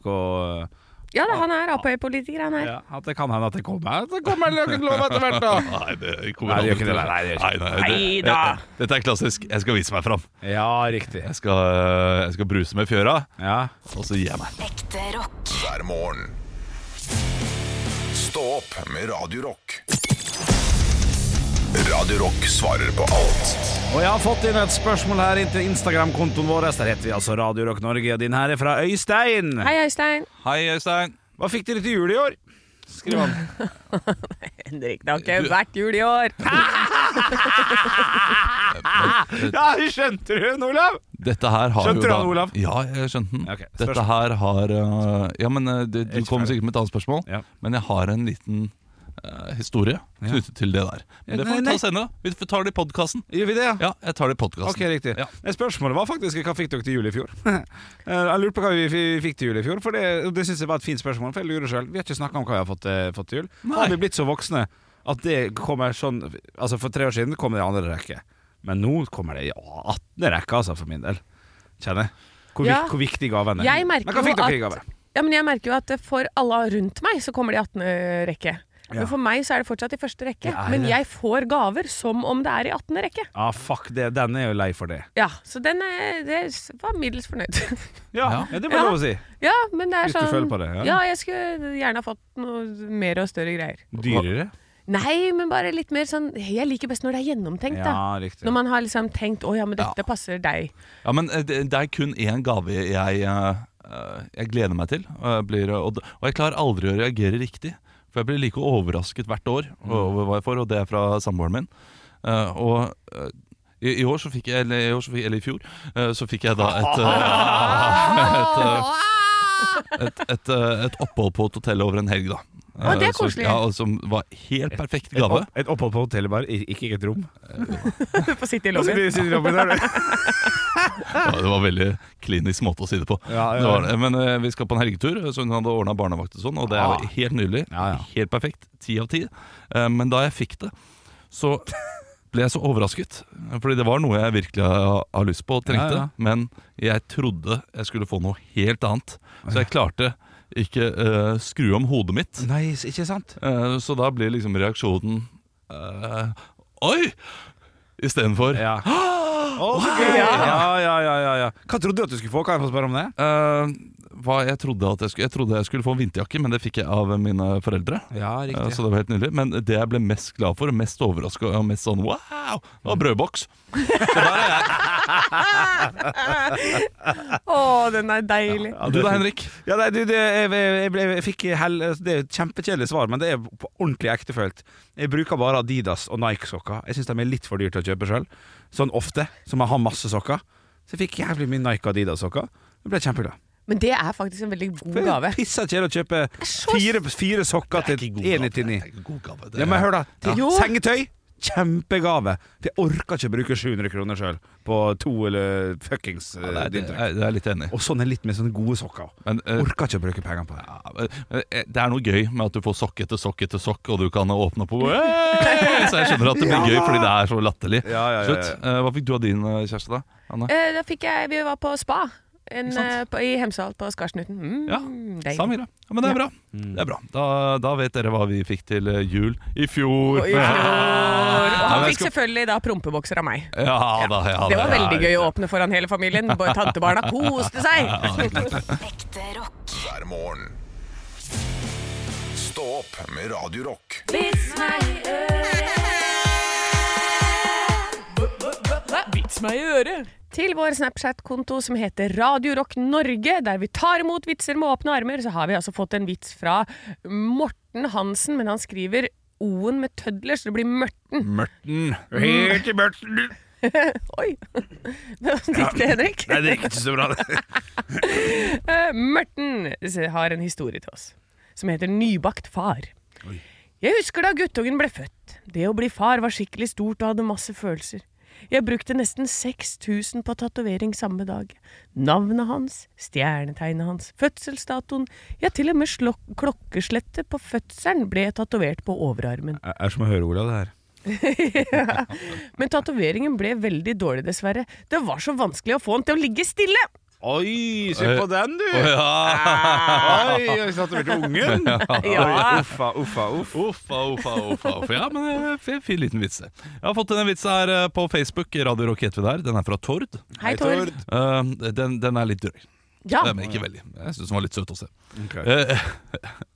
Speaker 2: å-
Speaker 3: Ja da, han er Ap-politiker, han her.
Speaker 2: ja, At det kan hende at det kommer Det kommer en lov etter hvert, da!
Speaker 4: Nei, det kommer
Speaker 2: Nei,
Speaker 4: aldri
Speaker 2: det gjør ikke
Speaker 4: til.
Speaker 2: det. Nei, det gjør ikke
Speaker 4: Nei, nei, det-
Speaker 3: Neida.
Speaker 4: det- Dette er klassisk. Jeg skal vise meg fram.
Speaker 2: Ja, riktig.
Speaker 4: Jeg skal, øh, jeg skal bruse med fjøra,
Speaker 2: Ja.
Speaker 4: og så gir jeg meg.
Speaker 6: Ekte rock.
Speaker 1: hver morgen. Stå opp med Radio Rock. Radio Rock svarer på alt.
Speaker 2: Og jeg har fått inn et spørsmål her inn til Instagram-kontoen vår. Der heter vi altså Radio Rock Norge, og din her er fra Øystein.
Speaker 3: Hei, Øystein.
Speaker 4: Hei, Øystein.
Speaker 2: Hva fikk dere til jul i år? Skriv han.
Speaker 3: Henrik, det har ikke vært jul i år.
Speaker 2: Ja, skjønte du den, Olav?
Speaker 4: Dette her har jo
Speaker 2: Skjønte du
Speaker 4: da,
Speaker 2: han, Olav?
Speaker 4: Ja, jeg skjønte den.
Speaker 2: Ok, spørsmål.
Speaker 4: Dette her har eh, Ja, men eh, du,
Speaker 2: er
Speaker 4: du
Speaker 2: ikke
Speaker 4: kommer
Speaker 2: ferdig.
Speaker 4: sikkert med et annet spørsmål,
Speaker 2: Ja.
Speaker 4: men jeg har en liten eh, historie knyttet til det der. Men det
Speaker 2: nei,
Speaker 4: får vi
Speaker 2: nei.
Speaker 4: ta senere. da. Vi tar det i podkasten.
Speaker 2: Gjør vi det, ja?
Speaker 4: Ja, jeg tar det i podkasten.
Speaker 2: Ok, riktig.
Speaker 4: Ja.
Speaker 2: Nei, Spørsmålet var faktisk hva fikk dere til jul i fjor. Eh, jeg lurte på hva vi f- fikk til jul i fjor, for det, det syns jeg var et fint spørsmål. For jeg lurer selv. Vi har ikke snakka om hva jeg har fått, eh, fått til jul.
Speaker 4: Nei.
Speaker 2: Har vi blitt så voksne at det kommer sånn Altså For tre år siden kom det i andre rekke, men nå kommer det i 18. rekke, altså, for min del. Kjenner jeg. Hvor,
Speaker 3: Ja.
Speaker 2: vik, hvor viktig gaven er.
Speaker 3: Jeg merker
Speaker 2: men hva
Speaker 3: jo
Speaker 2: fikk dere i
Speaker 3: at-
Speaker 2: gave?
Speaker 3: Ja, men jeg merker jo at for alle rundt meg så kommer det i 18. rekke.
Speaker 2: Ja.
Speaker 3: Men for meg så er det fortsatt i første rekke.
Speaker 2: Det er
Speaker 3: Men
Speaker 2: det.
Speaker 3: jeg får gaver som om det er i 18. rekke.
Speaker 2: Ah, fuck det. Den er jo lei for det.
Speaker 3: Ja, så den er, det var middels fornøyd.
Speaker 2: Ja, ja det må
Speaker 3: Ja.
Speaker 2: lov å si.
Speaker 3: ja, men det er
Speaker 2: Hvis du
Speaker 3: sånn
Speaker 2: føler på det, ja.
Speaker 3: jeg skulle gjerne ha fått noe mer og større greier.
Speaker 2: Dyrere?
Speaker 3: Nei, men bare litt mer sånn Jeg liker best når det er gjennomtenkt, da.
Speaker 2: Ja, riktig.
Speaker 3: Når man har liksom tenkt 'Å ja, men dette passer deg'.
Speaker 4: Ja, men eh, det, det er kun én gave jeg, eh, eh, jeg gleder meg til. Og jeg, blir, og, d- og jeg klarer aldri å reagere riktig. For jeg blir like overrasket hvert år
Speaker 3: Mm.
Speaker 4: over hva jeg får, og det er fra samboeren min. Eh, og eh, i, i år så fikk jeg, eller i, år så fikk, eller i fjor, eh, så fikk jeg da et eh, et, eh, et, et, eh, et opphold på et hotell over en helg, da.
Speaker 3: Å, det er
Speaker 4: Eh, så-
Speaker 3: koselig.
Speaker 4: Ja, og som var helt perfekt
Speaker 2: Et,
Speaker 4: gave.
Speaker 2: opp, et opphold på hotellet, bare. i- Ikke i et rom.
Speaker 3: Du får sitte i
Speaker 2: Og så sitter-
Speaker 3: lobbyen.
Speaker 2: sitter Robin der, du.
Speaker 4: Ja, det var veldig klinisk måte å si det på.
Speaker 2: Ja, ja, ja.
Speaker 4: Det var det. Men eh, vi skal på en helgetur, så hun hadde ordna barnevakt og sånn, og det er
Speaker 2: Ah.
Speaker 4: jo helt nydelig.
Speaker 2: Ja, ja.
Speaker 4: Helt perfekt. Ti av ti. Eh, Men da jeg fikk det, så ble jeg så overrasket. Fordi det var noe jeg virkelig har har lyst på og trengte,
Speaker 2: Ja, ja.
Speaker 4: men jeg trodde jeg skulle få noe helt annet. Så jeg klarte ikke eh, skru om hodet mitt.
Speaker 2: Nei, s- ikke sant?
Speaker 4: Eh, så da blir liksom reaksjonen eh, Oi! Istedenfor
Speaker 2: Ja. ja. ja, ja, ja, ja, ja. Hva trodde du at du skulle få? Kan jeg få spørre om det?
Speaker 4: Eh, hva jeg trodde at jeg skulle Jeg trodde jeg skulle få en vinterjakke, men det fikk jeg av mine foreldre.
Speaker 2: Ja,
Speaker 4: Eh, Så det var helt nydelig Men det jeg ble mest glad for, og mest overraska og mest sånn wow, var brødboks.
Speaker 3: Å, den er deilig.
Speaker 4: Du da, Henrik?
Speaker 2: Ja, nei, du, det, jeg, jeg, jeg, ble, jeg fikk hell, altså, Det er et kjempekjedelig svar, men det er på ordentlig ektefølt. Jeg bruker bare Adidas og Nike-sokker. Jeg syns de er litt for dyre til å kjøpe sjøl. Sånn ofte, så man har masse sokker. Så jeg fikk jævlig mye Nike og Adidas-sokker. Jeg ble kjempeglad.
Speaker 3: Men det er faktisk en veldig god
Speaker 2: For
Speaker 3: gave.
Speaker 2: jeg Pissa kjedelig å kjøpe fire, fire sokker til 199.
Speaker 4: God gave.
Speaker 2: Ja, men hør da til
Speaker 3: Jo.
Speaker 2: Sengetøy Kjempegave For jeg orker ikke bruke 700 kroner selv På to eller fuckings eh,
Speaker 4: Nei, det,
Speaker 2: dyntrekk.
Speaker 4: er, det er jeg litt enig i.
Speaker 2: Og sånn er litt med sånne gode sokker
Speaker 4: Men, eh,
Speaker 2: Orker ikke å bruke penger på det
Speaker 4: ja, men, eh, Det er noe gøy med at du får sokk etter sokk etter sokk, og du kan åpne opp og «Hey!» Så jeg skjønner at det blir gøy, fordi det er så latterlig.
Speaker 2: Ja, ja, ja, ja.
Speaker 4: Slutt. Eh, Hva fikk du av din eh, kjæreste, da? Anne?
Speaker 3: Eh, da fikk jeg Vi var på spa en,
Speaker 4: Ikke sant?
Speaker 3: eh, på, i Hemsedal, på Skarsnuten. Mm,
Speaker 4: Ja,
Speaker 3: deilig.
Speaker 4: Samira. Ja, men det er bra. Det er bra. Da, da vet dere hva vi fikk til eh, jul i fjor.
Speaker 3: Og i fjor. Og
Speaker 4: Nei, men
Speaker 3: han
Speaker 4: jeg
Speaker 3: fikk
Speaker 4: skal-
Speaker 3: selvfølgelig da prompebokser av meg.
Speaker 4: Ja da, ja da.
Speaker 3: Det var
Speaker 4: ja,
Speaker 3: veldig gøy å åpne foran hele familien. Bare Tantebarna koste seg!
Speaker 6: Ekte rock.
Speaker 1: hver morgen. Stå opp med Radio Rock.
Speaker 3: Vits meg i øret! Til vår Snapchat-konto som heter Radio Rock Norge, der vi tar imot vitser med åpne armer, så har vi altså fått en vits fra Morten Hansen, men han skriver O-en med tødler, så det blir Mørten.
Speaker 2: Mm. Helt i børsen
Speaker 3: Oi! Det var riktig, Henrik.
Speaker 2: Nei, det gikk ikke så bra det.
Speaker 3: Eh, Morten har en historie til oss som heter Nybakt far. Jeg husker da guttungen ble født. Det å bli far var skikkelig stort og hadde masse følelser. Jeg brukte nesten 6000 på tatovering samme dag. Navnet hans, stjernetegnet hans, fødselsdatoen, ja, til og med slok- klokkeslettet på fødselen ble tatovert på overarmen.
Speaker 2: Det er som å høre Ola det her
Speaker 3: Men tatoveringen ble veldig dårlig, dessverre. Det var så vanskelig å få han til å ligge stille!
Speaker 2: Oi, se på den du
Speaker 4: Å, ja.
Speaker 2: Oi, jeg satt over til ungen
Speaker 3: Ja.
Speaker 2: Uffa, uffa, uff
Speaker 4: Uffa, uffa, uffa. uffa. Ja, men eh, fin, fin liten vits. det. Jeg har fått en vits her eh, på Facebook. Radio Rock heter vi der. Den er fra Tord.
Speaker 3: Hei, Tord.
Speaker 4: Eh, Den, den er litt drøy.
Speaker 3: Ja.
Speaker 4: Eh, Men ikke veldig. Jeg syns den var litt søt å se.
Speaker 2: Ok.
Speaker 4: Eh,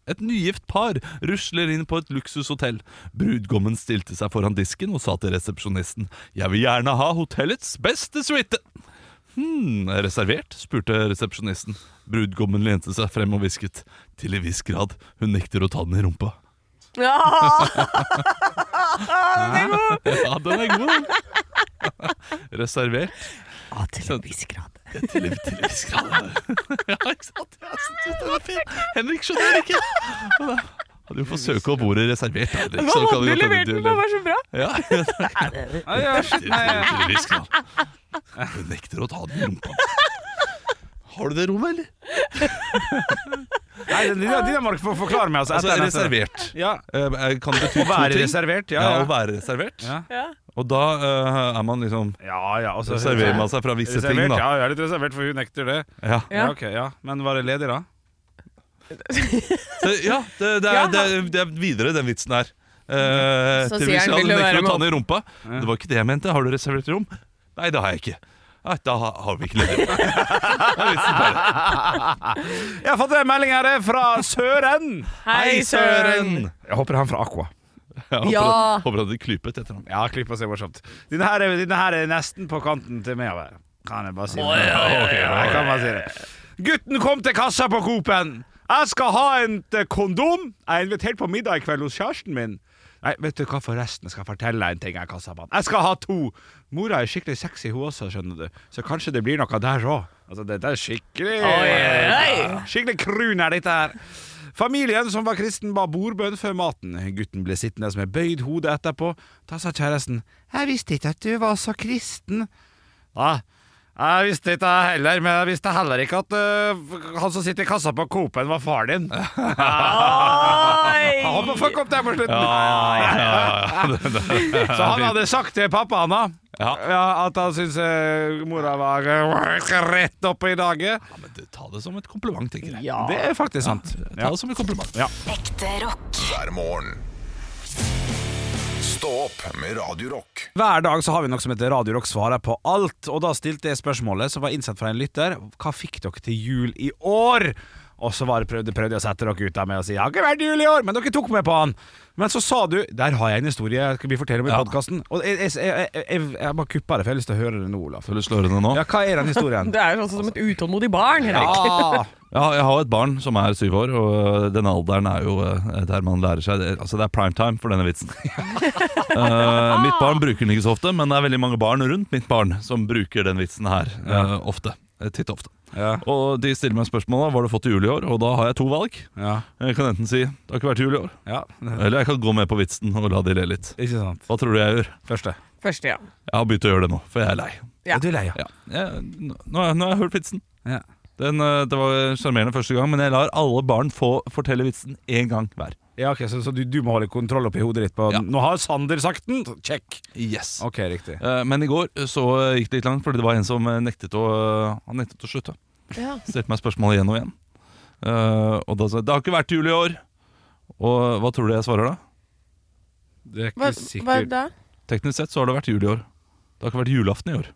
Speaker 4: Et nygift par rusler inn på et luksushotell. Brudgommen stilte seg foran disken og sa til resepsjonisten Jeg vil gjerne ha hotellets beste suite. Hm, er reservert? spurte resepsjonisten. Brudgommen lente seg frem og hvisket. Til en viss grad. Hun nekter å ta den i rumpa.
Speaker 3: Ja.
Speaker 4: Ja, den er god. Reservert.
Speaker 3: Ja, til en viss grad.
Speaker 4: Til en til en viss grad. Ja, ikke sant? Jeg synes den var fin. Henrik skjønner det ikke. Og da- Du får søke opp ordet reservert. Henrik,
Speaker 3: Hva
Speaker 4: så kan
Speaker 3: måten
Speaker 4: det godt hende
Speaker 3: du leverte
Speaker 4: du
Speaker 3: den på,
Speaker 4: lever-
Speaker 3: var så bra!
Speaker 4: Ja,
Speaker 2: Nei, ja.
Speaker 4: Til viss grad. Hun nekter å ta den i rumpa. Har du det rommet, eller?
Speaker 2: Nei, Dinamark får forklare meg. Altså,
Speaker 4: Altså,
Speaker 2: etter neste-
Speaker 4: reservert.
Speaker 2: Ja.
Speaker 4: Eh, Kan bety to
Speaker 2: Å være
Speaker 4: ting.
Speaker 2: reservert,
Speaker 4: Ja,
Speaker 2: ja.
Speaker 4: Å være reservert.
Speaker 2: Ja.
Speaker 3: Ja.
Speaker 4: Og da eh, er man liksom
Speaker 2: ja, ja altså,
Speaker 4: Reserverer man seg fra visse ting,
Speaker 2: Reservert,
Speaker 4: da.
Speaker 2: ja, jeg er litt reservert, for hun nekter det.
Speaker 4: Ja,
Speaker 2: Ja. ok, ja. Men var det ledig, da?
Speaker 4: Så, ja det, det, er, det, er, det er videre, den vitsen her. Eh,
Speaker 3: Så
Speaker 4: til
Speaker 3: sier
Speaker 4: hvis
Speaker 3: han,
Speaker 4: jeg hadde
Speaker 3: vil du
Speaker 4: nektet å
Speaker 3: være
Speaker 4: ta
Speaker 3: med
Speaker 4: den i rumpa. Det var ikke det jeg mente. Har du reservert rom? Nei, det har jeg ikke. Nei, da har har vi ikke ledig. Det er vitsen ferdig.
Speaker 2: Jeg har fått en melding her eh, fra Søren.
Speaker 3: Hei, Søren!
Speaker 2: Jeg håper han fra Aqua.
Speaker 4: Jeg håper,
Speaker 3: Ja.
Speaker 4: at- håper at det klypet etter ham.
Speaker 2: Ja, klipp og se morsomt. Denne her, er- denne her er nesten på kanten til meg. Vel. Kan jeg bare si det? Ok, jeg kan bare si det. Gutten kom til kassa på Coop-en. Jeg skal ha et kondom. Jeg er invitert på middag i kveld hos kjæresten min. Nei, vet du hva forresten? Jeg skal fortelle deg en ting. Jeg kassa på han. Jeg skal ha to. Mora er skikkelig sexy, hun også, skjønner du. Så kanskje det blir noe der òg. Altså, dette er skikkelig
Speaker 3: Oi,
Speaker 2: Skikkelig krun er dette her. Familien som var kristen ba bordbønn før maten. Gutten ble sittende med bøyd hode etterpå. Da sa kjæresten 'Jeg visste ikke at du var så kristen'. Nei, jeg visste ikke jeg heller, men jeg visste heller ikke at øh, han som sitter i kassa på Coop-en, var far din.
Speaker 3: Oi!
Speaker 2: Han holdt på å fucke opp der på slutten. Så
Speaker 4: Så
Speaker 2: han hadde sagt til pappa han da
Speaker 4: Ja.
Speaker 2: ja, at han syntes øh, mora var øh, rett oppe i dagen.
Speaker 4: Men du, ta det som et kompliment, tenker jeg.
Speaker 2: Det er faktisk sant.
Speaker 4: Ta det som et kompliment.
Speaker 6: Ekte rock.
Speaker 1: hver morgen. Stå opp med Radio Rock.
Speaker 2: Hver dag så har vi noe som heter Radio Rock svarer på alt, og da stilte jeg spørsmålet som var innsendt fra en lytter. Hva fikk dere til jul i år? Og så var det prøvde, prøvde jeg å sette dere ut der med å si 'Jeg har ikke vært jul i år', men dere tok meg på han. Men så sa du 'Der har jeg en historie jeg skal vi fortelle om i
Speaker 4: Ja.
Speaker 2: podkasten'. Og jeg, jeg, jeg, jeg, jeg, jeg bare kuppa det, for jeg har lyst til å høre det nå, Olaf.
Speaker 4: Vil du slå henne nå?
Speaker 2: Ja, hva er den historien?
Speaker 3: Det er jo sånn som et utålmodig barn, Henrik.
Speaker 2: Ah,
Speaker 4: Ja, jeg har jo et barn som er syv år, og øh, denne alderen er jo øh, der man lærer seg det- Altså, det er prime time for denne vitsen. Eh, mitt barn bruker den ikke så ofte, men det er veldig mange barn rundt mitt barn som bruker den vitsen her eh, ofte. Eh, Titt ofte.
Speaker 2: ja,
Speaker 4: Og de stiller meg spørsmålet hva har du fått til jul i år, og da har jeg to valg.
Speaker 2: ja,
Speaker 4: Jeg kan enten si det har ikke vært jul i år,
Speaker 2: ja.
Speaker 4: eller jeg kan gå med på vitsen og la de le litt.
Speaker 2: Ikke sant.
Speaker 4: Hva tror du jeg gjør?
Speaker 2: Første.
Speaker 3: Første, ja.
Speaker 4: Jeg har begynt å gjøre det nå, for jeg er lei.
Speaker 3: Ja.
Speaker 2: Er du lei, ja?
Speaker 4: Ja. Jeg, nå, nå har jeg- nå har jeg hørt vitsen.
Speaker 2: Ja.
Speaker 4: Den, øh, det var sjarmerende første gang, men jeg lar alle barn få fortelle vitsen én gang hver.
Speaker 2: ja ok, så, så du, du må holde kontroll oppi hodet ditt på
Speaker 4: Ja.
Speaker 2: Nå har Sander sagt den! Check.
Speaker 4: Yes.
Speaker 2: Ok, riktig.
Speaker 4: Eh, Men i går så eh, gikk det litt langt, fordi det var en som eh, nektet å, han nektet å slutte.
Speaker 3: Ja.
Speaker 4: Stilte meg spørsmål igjen og igjen. Eh, og da sa jeg det har ikke vært jul i år. Og hva tror du jeg svarer da?
Speaker 2: Det er ikke
Speaker 3: Hva, hva
Speaker 2: sikkert
Speaker 3: da?
Speaker 4: Teknisk sett så har det vært jul i år. Det har ikke vært julaften i år.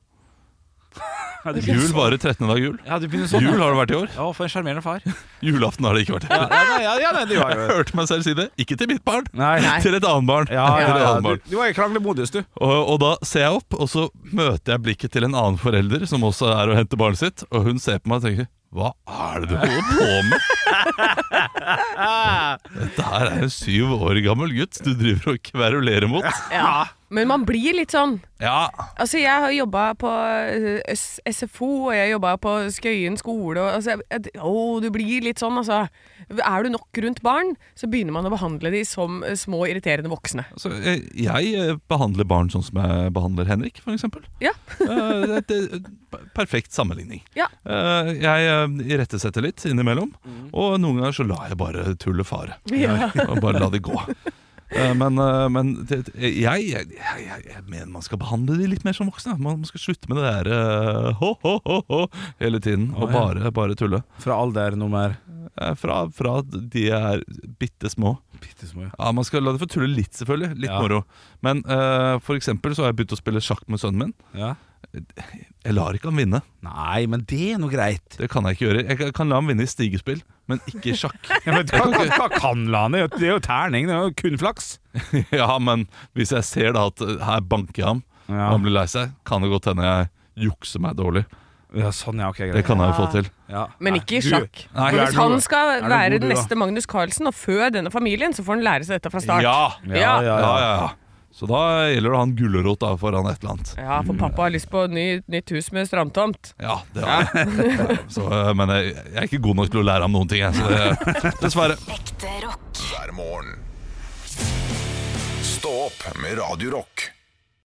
Speaker 4: Jul varer 13. dag jul.
Speaker 2: Ja, du begynner sånn.
Speaker 4: Jul har det vært i år.
Speaker 2: Ja, for en sjarmerende far.
Speaker 4: Julaften har det ikke vært. i år. Jeg hørte meg selv si det. Ikke til mitt barn,
Speaker 2: Nei.
Speaker 3: Nei.
Speaker 4: til et annet barn.
Speaker 2: Ja,
Speaker 4: Til
Speaker 2: ja,
Speaker 4: et
Speaker 2: ja.
Speaker 4: annet
Speaker 2: Du,
Speaker 4: barn.
Speaker 2: du var i kranglemodus, du.
Speaker 4: Og, og da ser jeg opp, og så møter jeg blikket til en annen forelder som også er og henter barnet sitt, og hun ser på meg og tenker hva er det du holder på med? Dette her er en syv år gammel gutt du driver og kverulerer mot.
Speaker 3: Ja. Men man blir litt sånn
Speaker 4: Ja,
Speaker 3: Altså, jeg har jobba på eh, S- SFO, og jeg jobba på Skøyen skole, og altså jeg- jeg- Å, du blir litt sånn, altså. Er du nok rundt barn, så begynner man å behandle de som eh, små, irriterende voksne.
Speaker 4: altså, jeg, jeg eh, behandler barn sånn som jeg behandler Henrik, for eksempel.
Speaker 3: Ja.
Speaker 4: Eh, det, det, perfekt sammenligning.
Speaker 3: Ja.
Speaker 4: Eh, jeg eh, irettesetter litt innimellom,
Speaker 3: Mm.
Speaker 4: og noen ganger så lar jeg bare tullet fare.
Speaker 3: Ja.
Speaker 4: Og bare la det gå. Eh, Men, eh, men det, jeg, jeg, jeg, jeg- jeg mener man skal behandle de litt mer som voksne. Man man skal slutte med det der eh, ho, ho, ho, ho, hele tiden og
Speaker 2: Å, ja.
Speaker 4: bare, bare tulle.
Speaker 2: Fra alder nummer
Speaker 4: Eh, Fra, fra de er bitte små.
Speaker 2: Bitte små, ja.
Speaker 4: Ja, man skal la det få tulle litt, selvfølgelig. Litt
Speaker 2: Ja.
Speaker 4: moro. Men eh, for eksempel så har jeg begynt å spille sjakk med sønnen min.
Speaker 2: ja.
Speaker 4: Jeg lar ikke han vinne.
Speaker 2: Nei, men det er nå greit.
Speaker 4: Det kan jeg ikke gjøre. Jeg kan- kan la han vinne i stigespill, men ikke i sjakk.
Speaker 2: Ja, men, hva, hva, hva kan la han? Det er jo- det er jo terning, det er jo kun flaks.
Speaker 4: ja, men hvis jeg ser da at eh, her banker jeg ham,
Speaker 2: Ja.
Speaker 4: og han blir lei seg, kan det godt hende jeg jukser meg dårlig.
Speaker 2: Ja, sånn, ja, ok,
Speaker 4: Det
Speaker 2: greit.
Speaker 4: kan jeg jo få til.
Speaker 2: Ja.
Speaker 3: Men
Speaker 2: Nei,
Speaker 3: ikke i
Speaker 2: du-
Speaker 3: sjakk.
Speaker 4: Nei,
Speaker 3: For
Speaker 4: er
Speaker 3: hvis
Speaker 4: det
Speaker 3: han
Speaker 4: noe-
Speaker 3: skal
Speaker 2: er det
Speaker 3: være
Speaker 2: god,
Speaker 3: den
Speaker 2: du, da?
Speaker 3: neste Magnus Carlsen og fø denne familien, så får han lære seg dette fra start.
Speaker 4: Ja!
Speaker 2: Ja, ja, ja.
Speaker 4: Ja, ja, ja. Så da gjelder det å ha en gulrot da foran et eller annet.
Speaker 3: Ja, for pappa har lyst på ny, nytt hus med strandtomt.
Speaker 4: Ja, det har jeg. Så, eh, men jeg, jeg er ikke god nok til å lære ham noen ting, jeg. Så det, dessverre.
Speaker 6: Ekte rock.
Speaker 1: hver morgen. Stå opp med Radio Rock.